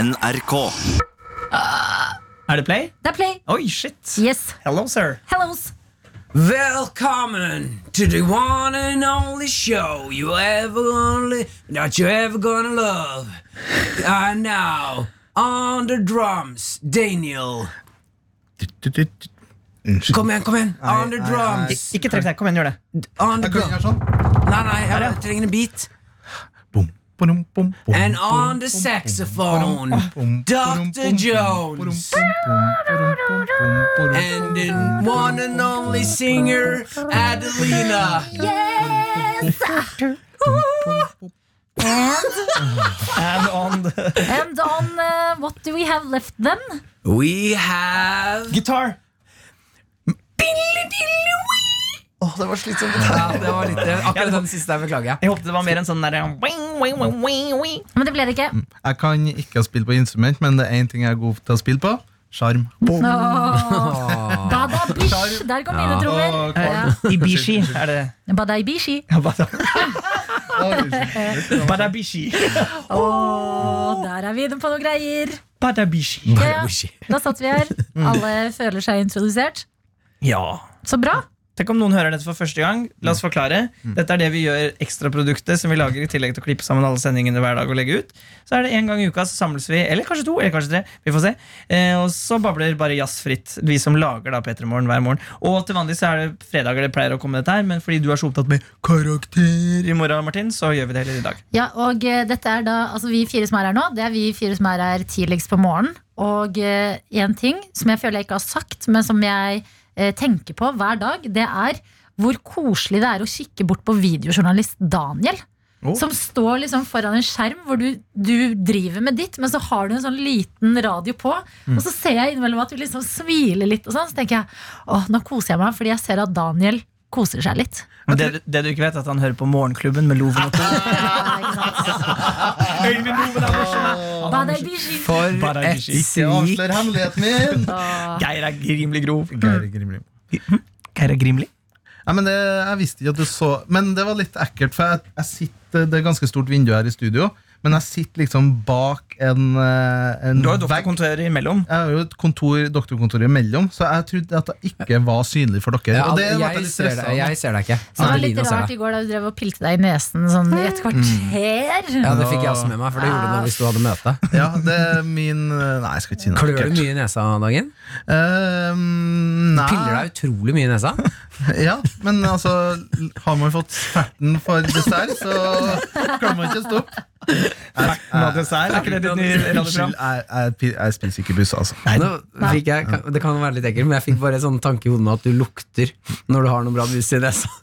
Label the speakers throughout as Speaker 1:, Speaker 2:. Speaker 1: NRK.
Speaker 2: Er det play?
Speaker 3: Det er play.
Speaker 2: Oi, shit.
Speaker 3: Yes.
Speaker 2: Hello, sir.
Speaker 3: Hellos.
Speaker 4: Welcome to the one and only show you ever only that you ever gonna love. And now on the drums, Daniel.
Speaker 5: Unnskyld.
Speaker 4: Kom igjen, kom igjen. On the
Speaker 5: nei,
Speaker 4: drums.
Speaker 2: Ik- Ikke trekk deg. Kom igjen, gjør det.
Speaker 4: On the
Speaker 5: Jeg kan
Speaker 4: drums.
Speaker 5: gjøre sånn.
Speaker 4: Nei, nei, jeg trenger en beat.
Speaker 5: Bom, bom, bom, bom,
Speaker 4: And
Speaker 5: bom,
Speaker 4: on the
Speaker 5: bom,
Speaker 4: saxophone,
Speaker 5: bom, bom, bom,
Speaker 4: Dr.
Speaker 5: bom,
Speaker 4: Jones.
Speaker 5: bom, bom, bom, bom, bom, bom.
Speaker 4: And the one and only singer, Adelina.
Speaker 3: Yes!
Speaker 2: And on the
Speaker 3: And on uh, what do we have left then?
Speaker 4: We have
Speaker 2: guitar.
Speaker 5: Åh, det var slitsomt.
Speaker 4: Ja, det var litt eh, Akkurat den siste der beklager jeg.
Speaker 2: Jeg håpet det var mer en sånn derre wing, wing, wing, wing, wing.
Speaker 3: Men det ble det ikke.
Speaker 5: Jeg kan ikke spille på instrument, men det er én ting jeg er god til å spille på. Sjarm.
Speaker 3: Åh. Bada bish! Der kom mine trommer.
Speaker 5: Åh,
Speaker 3: Ja.
Speaker 2: Ibishi, er det
Speaker 3: Badai bishi.
Speaker 2: Badabishi.
Speaker 3: Åh, der er vi inne på noe greier.
Speaker 2: Badabishi.
Speaker 3: Ja, ja. Da satt vi her. Alle føler seg introdusert.
Speaker 2: Ja.
Speaker 3: Så bra.
Speaker 2: Tenk om noen hører dette for første gang. La oss forklare. Dette er det vi gjør ekstraproduktet som vi lager i tillegg til å klippe sammen alle sendingene hver dag og legge ut. Så er det en gang i uka så samles vi, eller kanskje to, eller kanskje tre. Vi får se. Eh, og så babler bare jazz fritt, vi som lager da P3 Morgen hver morgen. Og til vanlig så er det fredager det pleier å komme dette her, men fordi du er så opptatt med karakter i morgen, Martin, så gjør vi det heller i dag.
Speaker 3: Ja, og eh, dette er da, altså Vi fire som er her nå, det er vi fire som er her tidligst på morgenen. Og én ting som jeg føler jeg ikke har sagt, men som jeg eh, tenker på hver dag, det er hvor koselig det er å kikke bort på videojournalist Daniel.
Speaker 5: Å.
Speaker 3: Som står liksom foran en skjerm hvor du, du driver med ditt, men så har du en sånn liten radio på. Og så ser jeg innimellom at du liksom smiler litt, og sånn, så tenker jeg åh, nå koser jeg meg fordi jeg ser at Daniel koser seg litt.
Speaker 2: Men det, du- det du ikke vet, er at han hører på Morgenklubben med Loven og Tor.
Speaker 3: Ja, ikke sant? Badai bishi.
Speaker 4: For
Speaker 2: Bare
Speaker 4: et
Speaker 2: ikke
Speaker 5: Jeg
Speaker 4: svik.
Speaker 5: avslører hemmeligheten min!
Speaker 3: Åh.
Speaker 2: Geir er grimelig grov.
Speaker 5: Geir Grimli.
Speaker 2: Geir er grimelig?
Speaker 5: Nei, men det, jeg visste ikke at du så Men det var litt ekkelt, for jeg, jeg sitter, det er ganske stort vindu her i studio, men jeg sitter liksom bak en, eh, en
Speaker 2: Du har jo
Speaker 5: vegg.
Speaker 2: doktorkontor imellom.
Speaker 5: Jeg har jo et kontor, doktorkontor imellom, så jeg trodde at jeg ikke var synlig for dere.
Speaker 4: Ja,
Speaker 5: og det ble jeg
Speaker 4: jeg,
Speaker 5: litt
Speaker 4: ser
Speaker 5: stresset
Speaker 4: deg,
Speaker 5: av.
Speaker 4: jeg ser deg ikke.
Speaker 3: Så det var litt
Speaker 4: Adelina ser
Speaker 3: rart
Speaker 4: deg.
Speaker 3: i går da du drev og pilte deg i nesen sånn i et kvarter.
Speaker 4: Ja, Det fikk jeg også med meg, for det gjorde du nå hvis du hadde møte.
Speaker 5: Ja, det er min eh, Nei, jeg skal ikke si noe.
Speaker 4: Klør du
Speaker 5: ekkelt.
Speaker 4: mye i nesa om dagen?
Speaker 5: Ehm, nei.
Speaker 4: Piller deg utrolig mye i nesa.
Speaker 5: Ja, men altså Har man fått ferten for dessert, så klarer man ikke å stoppe.
Speaker 2: Er ikke det ditt nye radioprogram?
Speaker 5: Unnskyld, jeg, jeg, pi- jeg spiser ikke buss, altså.
Speaker 4: Nå fikk jeg, kan- det kan være litt ekkelt, men jeg fikk bare en sånn tanke i hodet nå at du lukter når du har noen bra mus i nesa.
Speaker 3: Hæ?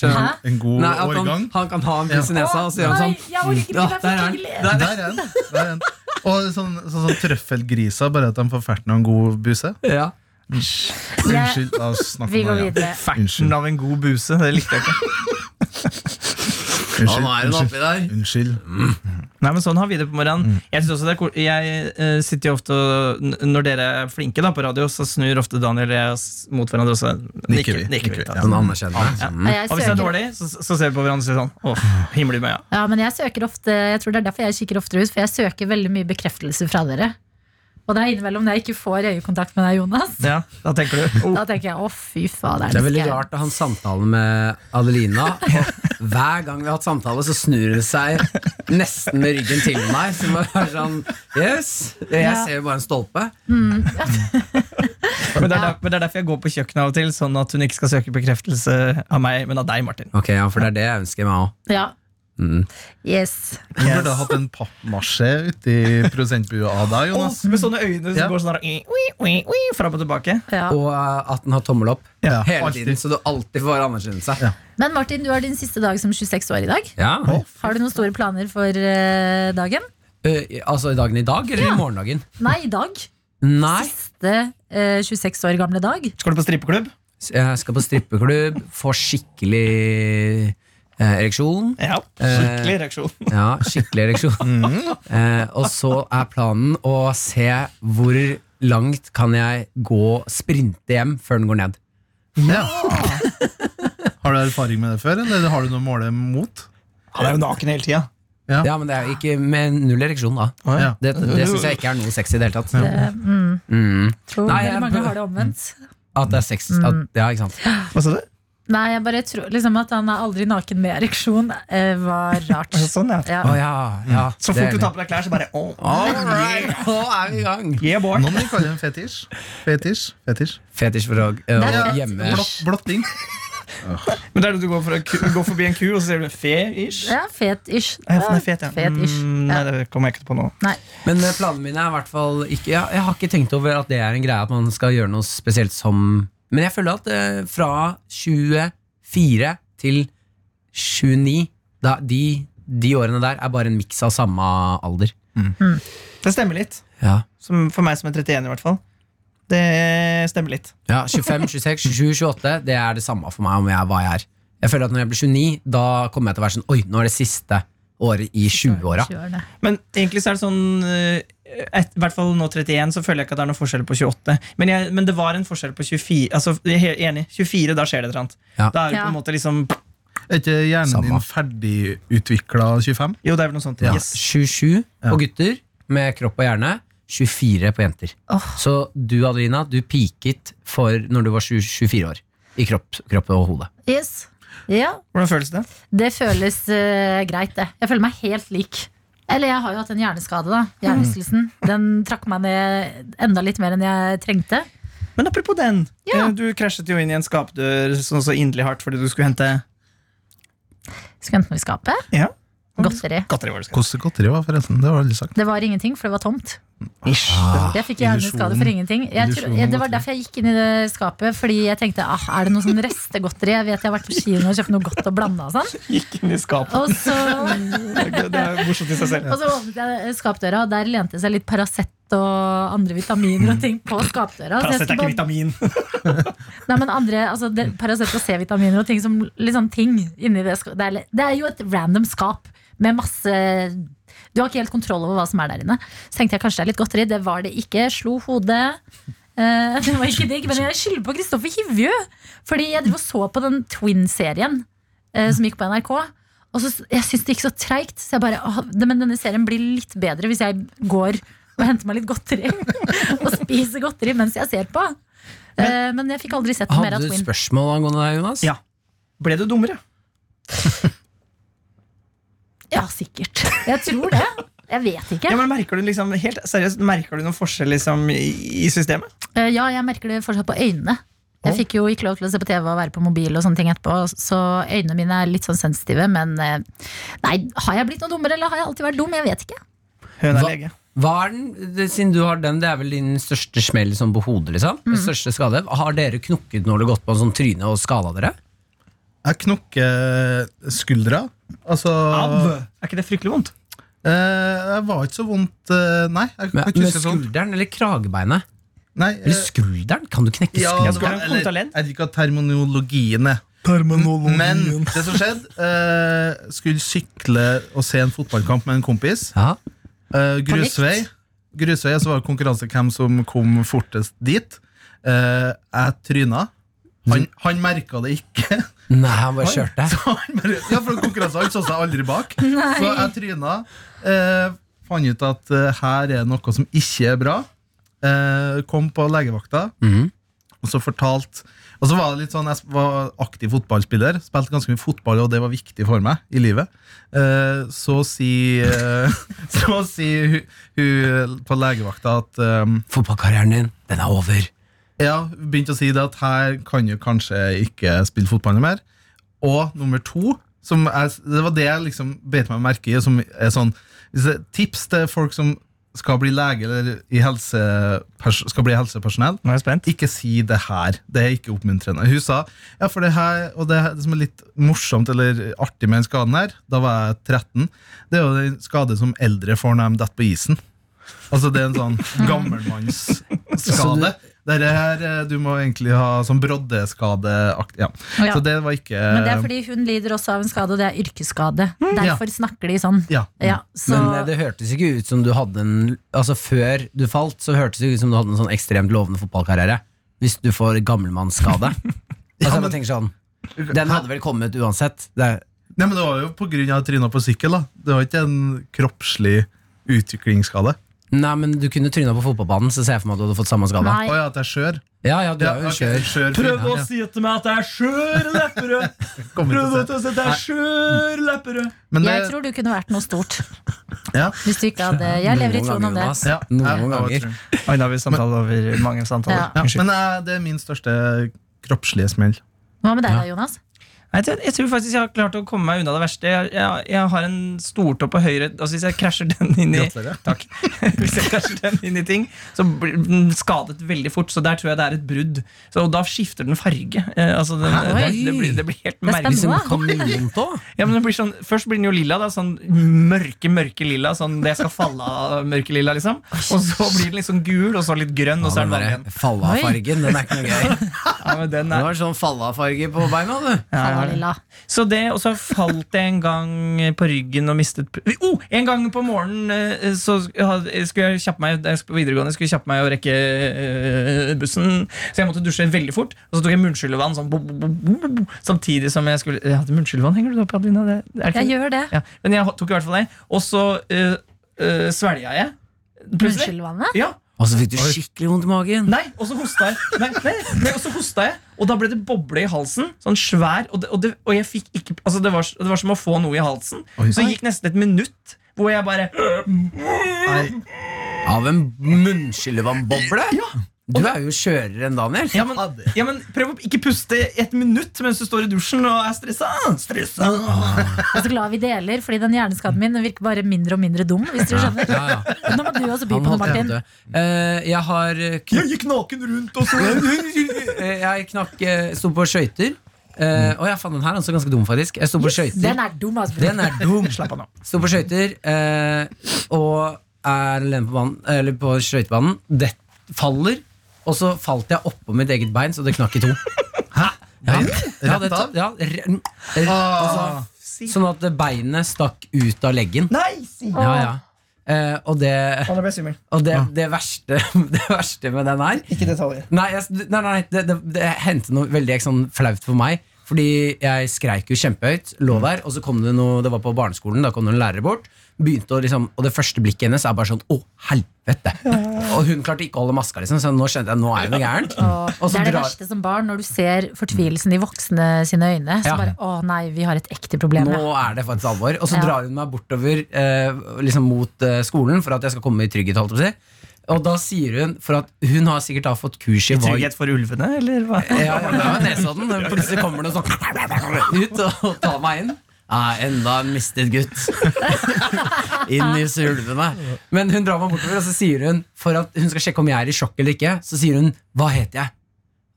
Speaker 4: Skjønner du?
Speaker 5: En god
Speaker 4: Nei, at han,
Speaker 5: årgang.
Speaker 4: han kan ha en mus i nesa, og så gjør han
Speaker 3: Nei,
Speaker 4: sånn.
Speaker 3: jeg orker ikke,
Speaker 4: Ja,
Speaker 3: det er
Speaker 4: der er
Speaker 3: for
Speaker 4: han.
Speaker 3: tidlig.
Speaker 4: Der.
Speaker 5: Der er den. Der er den. Og sånn, sånn, sånn trøffelgriser, bare at de får ferten av en god buse.
Speaker 4: Ja.
Speaker 5: Unnskyld, la oss snakke
Speaker 3: Vi
Speaker 5: om
Speaker 3: går
Speaker 5: det.
Speaker 4: Mm.
Speaker 3: videre.
Speaker 2: Ferten av en god buse. Det likte jeg ikke.
Speaker 5: Unnskyld,
Speaker 4: Ja, nå er den oppi der.
Speaker 5: unnskyld, unnskyld.
Speaker 2: Nei, men Sånn har vi det på morgenen. Jeg synes også det er cool. Jeg eh, sitter jo ofte og, n- Når dere er flinke da på radio, så snur ofte Daniel og jeg oss mot hverandre. Og så
Speaker 5: Nikker
Speaker 2: nikker,
Speaker 5: vi.
Speaker 2: nikker vi
Speaker 5: Nikker vi,
Speaker 2: da.
Speaker 5: ja.
Speaker 4: Sånn anerkjennende.
Speaker 2: Ja.
Speaker 4: Mm.
Speaker 3: Jeg
Speaker 2: Og hvis det er
Speaker 3: søker,
Speaker 2: dårlig, så, så ser vi på hverandre og sier sånn Åh, himmel i meg, ja.
Speaker 3: ja, men jeg søker ofte Jeg tror det er derfor jeg kikker oftere ut, for jeg søker veldig mye bekreftelse fra dere. Og det er innimellom når jeg ikke får øyekontakt med deg, Jonas.
Speaker 2: ja. Da tenker du «Oh,
Speaker 3: Da tenker jeg å, fy fader.
Speaker 4: Det er
Speaker 3: nå
Speaker 4: veldig
Speaker 3: skal jeg-
Speaker 4: rart å ha en samtale med Adelina. Og hver gang vi har hatt samtale, så snur hun seg nesten med ryggen til meg. Så man er sånn Yes! Jeg
Speaker 3: Ja.
Speaker 4: ser jo bare en stolpe.
Speaker 2: men, det er der, men det er derfor jeg går på kjøkkenet av og til, sånn at hun ikke skal søke bekreftelse av meg, men av deg, Martin.
Speaker 4: Ok, ja, For det er det jeg ønsker meg òg.
Speaker 3: Ja.
Speaker 4: Mm.
Speaker 3: Yes.
Speaker 5: Du burde ha hatt en pappmasje uti prosentbua av
Speaker 2: Åh,
Speaker 5: deg, Jonas.
Speaker 2: med sånne øyne som
Speaker 5: Ja.
Speaker 2: går sånn der, ui, ui, ui, ui, fram og tilbake.
Speaker 3: Ja.
Speaker 4: Og eh, at den har tommel opp
Speaker 5: Ja,
Speaker 4: hele
Speaker 5: alltid.
Speaker 4: tiden, så du alltid får anerkjennelse.
Speaker 5: Ja.
Speaker 3: Men Martin, du har din siste dag som 26 år i dag.
Speaker 4: Ja.
Speaker 3: Har du noen store planer for eh, dagen?
Speaker 4: Eh, altså i dagen i dag, eller i morgendagen?
Speaker 3: Nei, i dag.
Speaker 4: Nei.
Speaker 3: Siste eh, 26 år gamle dag.
Speaker 2: Skal du på strippeklubb?
Speaker 4: Så Jeg skal på strippeklubb, få skikkelig eh, ereksjon.
Speaker 2: Ja. Skikkelig reaksjon.
Speaker 4: Ja, skikkelig ereksjon. Eh, og så er planen å se hvor langt kan jeg gå sprinte hjem før den går ned.
Speaker 5: Ja. Har du erfaring med det før, eller har du noe å måle mot?
Speaker 2: Han er jo naken hele tida.
Speaker 5: Ja.
Speaker 4: Ja, men det er jo ikke med null ereksjon, da.
Speaker 5: Ja.
Speaker 4: Det, det syns jeg ikke er noe sexy i det hele tatt.
Speaker 3: Eh, mm,
Speaker 4: Mm.
Speaker 3: tror
Speaker 4: Nei,
Speaker 3: veldig
Speaker 4: jeg-
Speaker 3: mange har det omvendt.
Speaker 2: Mm.
Speaker 4: At det er sex at, Ja, ikke sant.
Speaker 2: Hva sa du?
Speaker 3: Nei, jeg bare tror liksom at han er aldri naken med ereksjon eh, var rart.
Speaker 2: Sånn, ja.
Speaker 3: Ja.
Speaker 4: Å ja, ja.
Speaker 2: Så fort
Speaker 4: det er
Speaker 2: du
Speaker 4: det.
Speaker 2: tar på deg klær, så bare oh,
Speaker 4: All right, nå er vi i gang.
Speaker 2: Yeah, boy.
Speaker 5: Noen vil kalle det en fetisj. Fetisj. fetisj.
Speaker 4: Fetisj for å å
Speaker 3: Det er
Speaker 4: gjemme
Speaker 3: fetisj.
Speaker 5: Blott, blotting.
Speaker 2: Men det er det du går, for, å ku- går forbi en ku, og så sier du fe-ish?
Speaker 3: Ja, fet-ish.
Speaker 2: Ja, den er fet, ja.
Speaker 3: Fet-ish.
Speaker 2: Mm, nei,
Speaker 3: Ja.
Speaker 2: det kommer jeg ikke på nå.
Speaker 4: Men eh, planene mine er i hvert fall ikke jeg, jeg har ikke tenkt over at det er en greie at man skal gjøre noe spesielt som Men jeg føler at eh, fra 24 til 29 da, de, de årene der er bare en miks av samme alder.
Speaker 2: Det stemmer litt.
Speaker 4: Ja.
Speaker 2: Som, for meg som er 31, i hvert fall. Det stemmer litt.
Speaker 4: ja 25, 26, 27, 28 Det er det samme for meg om jeg, hva jeg er. Jeg føler at når jeg blir 29, da kommer jeg til å være sånn Oi, nå er det siste året i 20-åra.
Speaker 3: 20-årene.
Speaker 2: Men egentlig så er det sånn eh, et, I hvert fall nå 31 så føler jeg ikke at det er noen forskjell på 28. Men, jeg, men det var en forskjell på 24. Altså, jeg er helt enig, 24, da skjer det et eller annet.
Speaker 4: Ja.
Speaker 2: Da er det
Speaker 3: Ja.
Speaker 2: på en måte liksom
Speaker 5: Er ikke hjernen
Speaker 4: Samme.
Speaker 5: din ferdigutvikla 25?
Speaker 2: Jo, det er vel noe sånt.
Speaker 5: Ja.
Speaker 2: Yes.
Speaker 4: 27 på gutter med kropp og hjerne. 24 på jenter.
Speaker 3: Åh.
Speaker 4: Så du Adelina, du peaket for når du var 20 24 år. I kropp, kropp og hode.
Speaker 3: Yes. Ja,
Speaker 2: Hvordan føles det?
Speaker 3: det føles eh, greit, det. Jeg føler meg helt lik. Eller jeg har jo hatt en hjerneskade, da.
Speaker 2: Mm.
Speaker 3: Hjernerystelsen. Den trakk meg ned enda litt mer enn jeg trengte.
Speaker 2: Men apropos den.
Speaker 3: Ja.
Speaker 2: eh, Du krasjet jo inn i en skapdør sånn så inderlig hardt fordi du skulle hente
Speaker 3: Skulle hente noe i skapet.
Speaker 2: Ja.
Speaker 3: Godteri.
Speaker 2: godteri. var det du skulle
Speaker 5: Hvordan godteri var forresten? Det har jeg aldri sagt. Ah.
Speaker 3: Det var ingenting, for det var tomt.
Speaker 2: hente. Ish.
Speaker 3: Jeg fikk hjerneskade
Speaker 5: illusjonen.
Speaker 3: for ingenting. Jeg tror,
Speaker 5: Illusjonen
Speaker 3: det var
Speaker 5: godteri.
Speaker 3: derfor jeg gikk inn i det skapet, fordi jeg tenkte ah, er det noe sånn restegodteri? Jeg vet jeg har vært på kino og kjøpt noe godt å blande og sånn.
Speaker 2: Gikk inn i skapet.
Speaker 3: Og så
Speaker 2: Det er gøy, det er morsomt i seg selv.
Speaker 3: Og så åpnet jeg skapdøra, og der lente det seg litt Paracet og andre vitaminer og ting på skapdøra. Så jeg
Speaker 2: Paracet er
Speaker 3: skulle
Speaker 2: ikke
Speaker 3: bare-
Speaker 2: vitamin.
Speaker 3: Nei, men andre, altså det- Paracet og C-vitaminer og ting som litt sånn ting inni det skapet. Det, er litt- det er jo et random skap med masse Du har ikke helt kontroll over hva som er der inne. Så tenkte jeg kanskje det er litt godteri. Det var det ikke. Slo hodet. Eh, det var ikke digg, men jeg skylder på Kristoffer Hivju. Fordi jeg driver og så på den Twin-serien eh, som gikk på NRK. Og så, Jeg syns det gikk så treigt, så jeg bare «Åh, det, Men denne serien blir litt bedre hvis jeg går og henter meg litt godteri. og spiser godteri mens jeg ser på. Men, men jeg fikk aldri sett noe mer
Speaker 4: Hadde
Speaker 3: av
Speaker 4: du et
Speaker 3: Twin.
Speaker 4: spørsmål angående deg, Jonas?
Speaker 2: Ja. Ble du dummere?
Speaker 3: Ja, sikkert. Jeg tror det. Jeg vet ikke.
Speaker 2: Ja, men merker du liksom, helt seriøst, merker du noen forskjell liksom, i i systemet?
Speaker 3: Eh, Ja, jeg merker det fortsatt på øynene. Jeg fikk jo ikke lov til å se på TV og være på mobil, og sånne ting etterpå, så øynene mine er litt sånn sensitive. Men eh, nei, har jeg blitt noe dummere, eller har jeg alltid vært dum? Jeg vet ikke.
Speaker 2: Høna
Speaker 4: Hva-
Speaker 2: er lege.
Speaker 4: Hva er den, det, siden du har den, det er vel din største smell sånn på hodet? liksom Den Største skade Har dere knukket når du har gått på en sånn tryne og skada dere?
Speaker 5: Jeg knokker skuldra. Altså
Speaker 2: Av! Er ikke det fryktelig vondt?
Speaker 5: eh, Det var ikke så vondt eh, Nei. Jeg kan
Speaker 4: Med,
Speaker 5: ikke
Speaker 4: med
Speaker 5: huske sånn.
Speaker 4: skulderen eller kragebeinet?
Speaker 5: Nei, eh,
Speaker 4: Eller skulderen? Kan du knekke
Speaker 5: ja,
Speaker 4: skulderen?
Speaker 5: det var,
Speaker 2: Skulderen kom
Speaker 5: eller,
Speaker 2: ut av
Speaker 5: jeg
Speaker 2: ledd.
Speaker 5: vet ikke hva terminologien er. Men det som skjedde, eh, skulle sykle og se en fotballkamp med en kompis.
Speaker 4: Ja.
Speaker 5: Eh, grusvei. Grusvei, så var det konkurranse hvem som kom fortest dit. Eh, jeg tryna. Han, han merka det ikke.
Speaker 4: Nei, han bare kjørte.
Speaker 5: Så han bare, ja, for konkurranse, han så seg aldri bak. Så jeg tryna. Eh, fant ut at eh, her er noe som ikke er bra. Eh, kom på legevakta.
Speaker 4: Mhm.
Speaker 5: Og så fortalt Og så var det litt sånn, jeg var aktiv fotballspiller Spilte ganske mye fotball, og det var viktig for meg i livet eh, Så sier eh, Så sier hun hun på legevakta at eh,
Speaker 4: Fotballkarrieren din, den er over.
Speaker 5: Ja, hun begynte å si det at her kan du kanskje ikke spille fotball noe mer Og nummer to som er, Det var det jeg liksom bet meg merke i Som er sånn hvis det- Tips til folk som skal bli lege Eller i helsepers, skal bli helsepersonell
Speaker 2: Nå er jeg spent.
Speaker 5: ikke si det her. Det er ikke oppmuntrende. Hun sa ja, for det her, og det, her- det som er litt morsomt eller artig med den skaden her, da var jeg 13, det er jo den skade som eldre får når de detter på isen. Altså det er en sånn gammelmannsskade. Dette her, eh, du må egentlig ha sånn broddeskadeaktig ja.
Speaker 3: Ja.
Speaker 5: Så det var ikke
Speaker 3: Men det er fordi hun lider også av en skade, og det er yrkesskade. Derfor snakker de sånn.
Speaker 5: ja.
Speaker 3: Ja, så
Speaker 4: Men eh, det hørtes ikke ut som du hadde en Altså Før du falt, så hørtes det ut som du hadde en sånn ekstremt lovende fotballkarriere. Hvis du får gammelmannsskade. altså, jeg bare
Speaker 5: men-
Speaker 4: tenker sånn Den hadde vel kommet uansett. Det,
Speaker 5: Nei, men Det var jo pga. tryna på sykkel. da Det var ikke en kroppslig utviklingsskade.
Speaker 4: Nei, men du kunne tryna på fotballbanen, så ser jeg for meg at du hadde fått samme skade.
Speaker 3: Nei.
Speaker 5: Å ja, at jeg er skjør?
Speaker 4: Ja, ja, du
Speaker 5: Ja,
Speaker 4: er jo en
Speaker 5: ok,
Speaker 4: skjør.
Speaker 5: skjør
Speaker 2: Prøv
Speaker 5: fyr.
Speaker 2: å si til meg at jeg er skjør lepperød!
Speaker 5: Kommer
Speaker 2: Prøv
Speaker 5: ikke
Speaker 2: å
Speaker 5: til å se.
Speaker 2: si at jeg altså, er skjør lepperød!
Speaker 5: Men det,
Speaker 3: Jeg tror du kunne vært noe stort.
Speaker 5: Ja.
Speaker 3: Hvis du ikke hadde Jeg lever i
Speaker 4: Noen
Speaker 3: troen om
Speaker 4: ganger,
Speaker 3: det.
Speaker 4: Jonas.
Speaker 5: ja, jeg- jeg
Speaker 4: Noen
Speaker 5: var
Speaker 4: ganger.
Speaker 5: skjør.
Speaker 2: Oi, da har vi samtale over mange samtaler.
Speaker 3: Ja.
Speaker 5: Ja,
Speaker 2: Unnskyld.
Speaker 5: men eh, det er min største kroppslige smell.
Speaker 3: Hva med deg da, Jonas?
Speaker 2: Nei, Jeg tror, jeg tror faktisk jeg har klart å komme meg unna det verste. Jeg, jeg, jeg har en stortå på høyre Altså Hvis jeg krasjer den inn i
Speaker 5: Gratulerer.
Speaker 2: Takk. Hvis jeg krasjer den inn i ting, så blir den skadet veldig fort. Så der tror jeg det er et brudd. Så, og da skifter den farge. Eh, altså den,
Speaker 4: Hæ?
Speaker 2: det,
Speaker 4: Oi.
Speaker 2: det, blir, det blir helt
Speaker 3: er
Speaker 2: merkelig.
Speaker 3: spennende.
Speaker 4: Som kameleontå?
Speaker 2: Ja, men det blir sånn, først blir den jo lilla, da, sånn mørke, mørke lilla. Sånn det jeg skal falle av mørke lilla, liksom. Og så blir den liksom gul, og så litt grønn, og så er den vanlig igjen.
Speaker 4: Falla-fargen, den er ikke noe gøy.
Speaker 2: Ja, men den
Speaker 4: Du
Speaker 2: er,
Speaker 4: har sånn falla-farge på beina, du.
Speaker 2: ja, jeg har
Speaker 3: Halla,
Speaker 2: den.
Speaker 3: lilla.
Speaker 2: Så det, og så falt jeg en gang på ryggen og mistet pr- oh, En gang på morgenen eh, så had- skulle jeg kjappe meg da jeg skulle på videregående skulle jeg kjappe meg å rekke eh, bussen. Så jeg måtte dusje veldig fort, og så tok jeg munnskyllevann sånn, bo, bo, bo, bo, bo, samtidig som jeg skulle Jeg hadde munnskyllevann, henger du opp i, Adelina? Det, er det
Speaker 3: Jeg
Speaker 2: ikke,
Speaker 3: gjør det.
Speaker 2: ja, men jeg tok i hvert fall det. Og så uh, svelga jeg. Plutselig.
Speaker 3: Unnskyldvannet.
Speaker 2: Ja,
Speaker 4: Og så fikk du skikkelig vondt i magen.
Speaker 2: Nei, og så hosta jeg. Nei, nei, nei, og så hosta jeg, og da ble det boble i halsen. Sånn svær. Og det, og det, og jeg fikk ikke, altså det, var, det var som å få noe i halsen.
Speaker 5: Oi.
Speaker 2: Så det gikk nesten et minutt hvor jeg bare
Speaker 5: Nei,
Speaker 4: Av en munnskyllevann-boble?
Speaker 2: Ja,
Speaker 4: Du er jo skjørere enn Daniel.
Speaker 2: ja, men, ja, men prøv å ikke puste i et minutt mens du står i dusjen og er stressa. stressa.
Speaker 3: Jeg er så glad vi deler, fordi den hjerneskaden min den virker bare mindre og mindre dum. Hvis dere skjønner
Speaker 4: Ja, ja.
Speaker 3: Nå må du også by på
Speaker 4: Han
Speaker 3: noe,
Speaker 4: holdt på å
Speaker 3: Martin.
Speaker 4: dø. Eh, jeg har eh, kn-
Speaker 2: Jeg gikk naken rundt og så
Speaker 4: Eh, Jeg knakk eh, Sto på skøyter. Eh, Å ja, faen, den her er også ganske dum, faktisk. Jeg sto på skøyter.
Speaker 3: Den er dum, altså.
Speaker 4: Den er dum.
Speaker 2: Slapp av nå.
Speaker 4: Sto på skøyter eh, og er alene på, banen, eller på skøytebanen. Det faller, og så falt jeg oppå mitt eget bein, så det knakk i to. Ja, ja, det,
Speaker 5: Rett av?
Speaker 4: ja, re- re- altså, sånn at beinet stakk ut av leggen.
Speaker 2: Ah, Nei, si!
Speaker 4: Ja, ja. Eh, og det,
Speaker 2: Å, da ble jeg svimmel.
Speaker 4: og det, det, verste, det verste med den her
Speaker 2: Ikke detaljer.
Speaker 4: Nei, jeg, nei, nei det, det, det hendte noe veldig ikke sånn, flaut for meg. Fordi jeg skreik jo kjempehøyt, lå der, og så kom det noe Det var på barneskolen, da kom det en lærer bort. Begynte å liksom, Og det første blikket hennes er bare sånn Å, helvete! Og hun klarte ikke å holde maska, liksom, så nå skjønte jeg nå er hun gæren.
Speaker 3: Åh,
Speaker 4: Og
Speaker 3: det
Speaker 4: så
Speaker 3: er det
Speaker 4: drar
Speaker 3: verste som barn, når du ser fortvilelsen i voksne sine øyne. Så
Speaker 4: Ja.
Speaker 3: bare å nei, vi har et ekte problem.
Speaker 4: Nå
Speaker 3: ja.
Speaker 4: er det faktisk alvor. Og så
Speaker 3: Ja.
Speaker 4: drar hun meg bortover eh, liksom mot eh, skolen for at jeg skal komme i trygghet. Holdt jeg på å si. Og da sier hun, for at hun har sikkert da fått kurs i hva
Speaker 2: Trygghet for ulvene, eller hva?
Speaker 4: Ja, det var Nesodden. Plutselig kommer det sånn ut og tar meg inn. Ah, enda en mistet gutt. Inn i ulvene. Men hun drar meg bortover, og så sier hun for at hun skal sjekke om jeg er i sjokk eller ikke, så sier hun 'Hva heter jeg?'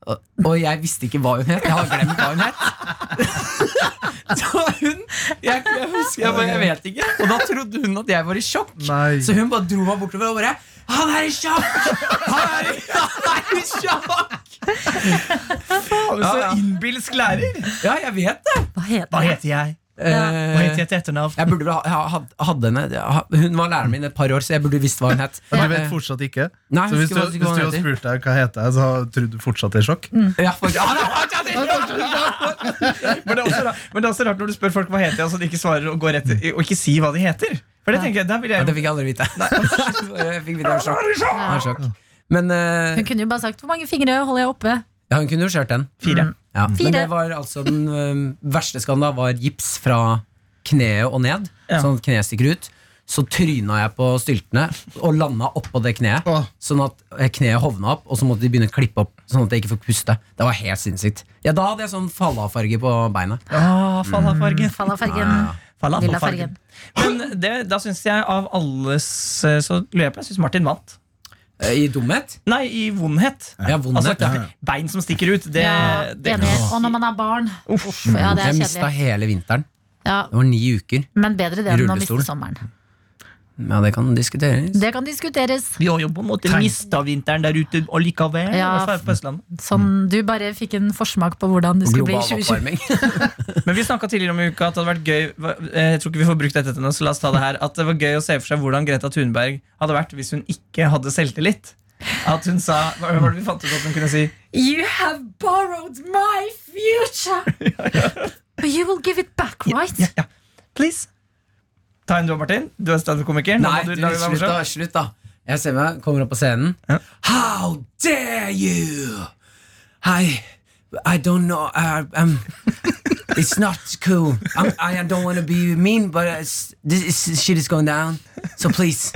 Speaker 4: Og- Og jeg visste ikke hva hun het. Jeg har glemt hva hun het. Så hun Jeg, jeg husker jeg, bare, jeg vet ikke. Og da trodde hun at jeg var i sjokk.
Speaker 5: Nei.
Speaker 4: Så hun bare dro meg bortover og bare 'Han er i sjokk!' Han er i, han er i sjokk!
Speaker 2: Faen, så
Speaker 4: ja.
Speaker 2: innbilsk lærer!
Speaker 4: Ja, jeg vet det.
Speaker 3: Hva heter
Speaker 2: Hva
Speaker 3: det?
Speaker 2: heter jeg?
Speaker 4: Eh,
Speaker 2: Hva heter jeg til etternavn?
Speaker 4: Jeg burde vel ha, ha, had- hadde henne ha- Hun var læreren min et par år, så jeg burde visst hva hun het.
Speaker 5: Du vet fortsatt ikke?
Speaker 4: Nei,
Speaker 5: Så
Speaker 4: jeg
Speaker 5: hvis
Speaker 4: husker
Speaker 5: du,
Speaker 4: faktisk
Speaker 5: hvis
Speaker 4: ikke hva
Speaker 5: du
Speaker 4: han
Speaker 5: hadde
Speaker 4: heter.
Speaker 5: spurt deg hva heter jeg, så trodde du fortsatt det er sjokk?
Speaker 4: Ja, for, ja, da, ja, det-
Speaker 2: Men det, er også, ra- men det er også rart når du spør folk hva heter jeg, så de ikke svarer og går rett i- og ikke sier hva de heter. For det tenker jeg, der vil
Speaker 4: ja,
Speaker 2: jeg
Speaker 4: det fikk jeg aldri vite. Jeg fikk vite av sjokk.
Speaker 3: Ja.
Speaker 4: Av sjokk. Men eh,
Speaker 3: Hun kunne jo bare sagt 'hvor mange fingre holder jeg oppe'?
Speaker 4: ja, hun kunne jo kjørt den.
Speaker 2: Fire.
Speaker 4: Ja.
Speaker 3: Fire.
Speaker 4: Men det var altså den eh, verste skanda var gips fra kneet og ned,
Speaker 2: Ja.
Speaker 4: sånn at kneet stikker ut. Så tryna jeg på styltene og landa oppå det kneet.
Speaker 5: Åh.
Speaker 4: Sånn at eh, kneet hovna opp, og så måtte de begynne å klippe opp. Sånn at jeg ikke fikk puste. Det var helt sinnssykt. Ja, Da hadde jeg sånn fallafarge på beina.
Speaker 2: Ah, falafargen.
Speaker 4: Ah,
Speaker 3: Fallafargen. Lillafargen.
Speaker 2: Men det, da syns jeg av alles Så lurer jeg på, jeg syns Martin vant.
Speaker 4: Eh, I dumhet?
Speaker 2: Nei, i vondhet.
Speaker 4: Ja, vondhet,
Speaker 2: altså,
Speaker 4: ja.
Speaker 2: Bein som stikker ut, det,
Speaker 3: Ja,
Speaker 2: det
Speaker 3: enig. Og når man er barn. Uff, ja, det er
Speaker 4: jeg mista
Speaker 3: kjedelig.
Speaker 4: hele vinteren.
Speaker 3: Ja,
Speaker 4: Det var ni uker.
Speaker 3: men bedre det enn å
Speaker 4: Rullestol.
Speaker 3: miste sommeren.
Speaker 4: Ja, det kan diskuteres.
Speaker 3: Det kan diskuteres.
Speaker 2: Vi har jo på en måte mista vinteren der ute allikevel.
Speaker 3: Ja.
Speaker 2: i hvert fall på Østlandet.
Speaker 3: Sånn, du bare fikk en forsmak på hvordan du skulle bli i
Speaker 4: Mm. Global
Speaker 3: 2020.
Speaker 4: oppvarming.
Speaker 2: Men vi snakka tidligere om i uka at det hadde vært gøy hva- eh, Jeg tror ikke vi får brukt dette til noe, så la oss ta det her At det var gøy å se for seg hvordan Greta Thunberg hadde vært hvis hun ikke hadde selvtillit. At hun sa Hva hva var det vi fant ut at hun kunne si?
Speaker 3: You have borrowed my future! But you will give it back,
Speaker 2: Ja,
Speaker 3: right?
Speaker 2: ja, ja. Please. Ta en du, Martin. Du er standup-komiker. Nå
Speaker 4: Nei,
Speaker 2: må du
Speaker 4: du,
Speaker 2: lage deg
Speaker 4: slutt, da.
Speaker 2: morsom.
Speaker 4: slutt da Jeg ser meg, kommer opp på scenen.
Speaker 2: Ja.
Speaker 4: How dare you! I, I don't know I, um, It's not cool. I'm, I don't want to be mean, but it's, this this shit is going down. So please,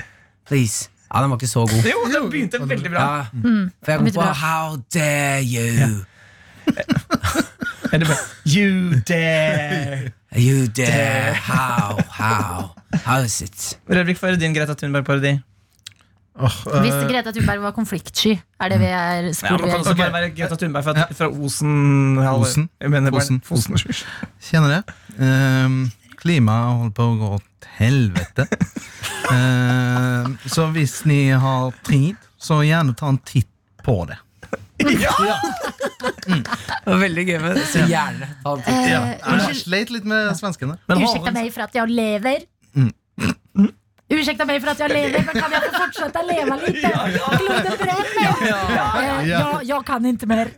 Speaker 4: please. Ja, den var ikke så god.
Speaker 2: Jo, det begynte veldig bra.
Speaker 4: Ja, for jeg kom
Speaker 3: Begynte
Speaker 4: på
Speaker 3: Mm. bra.
Speaker 4: How dare you!
Speaker 2: Eller bare, You dare.
Speaker 4: You dare how? How? How is it?
Speaker 2: Rødvik, få høre din Greta Thunberg-parodi.
Speaker 5: Åh, eh,
Speaker 3: Hvis Greta Thunberg var konfliktsky, er det vi er
Speaker 2: Ja, sånn
Speaker 3: sporet
Speaker 2: man
Speaker 3: vi
Speaker 2: kan også bare være
Speaker 3: er inne på.
Speaker 2: Greta Thunberg fra, fra Osen. halvøy.
Speaker 5: Osen.
Speaker 2: Jeg mener bare-
Speaker 5: Osen.
Speaker 2: Osen.
Speaker 5: Kjenner det. Ehm, Klimaet holder på å gå til helvete. Ehm, så hvis ni har tid, så gjerne ta en titt på det.
Speaker 4: Veldig gøy med Så gjerne. Ta en titt.
Speaker 5: Ja. Jeg
Speaker 3: Eh, Unnskyld,
Speaker 5: sleit litt med svenskene.
Speaker 2: Men Mm.
Speaker 3: Ursäkta
Speaker 2: Hovland,
Speaker 3: meg for at jeg lever. Ursäkta meg for at jeg lever, men kan jeg få fortsette å leve litt? Kloden brenner! Eh,
Speaker 5: ja.
Speaker 3: ja, Jeg kan ikke mer.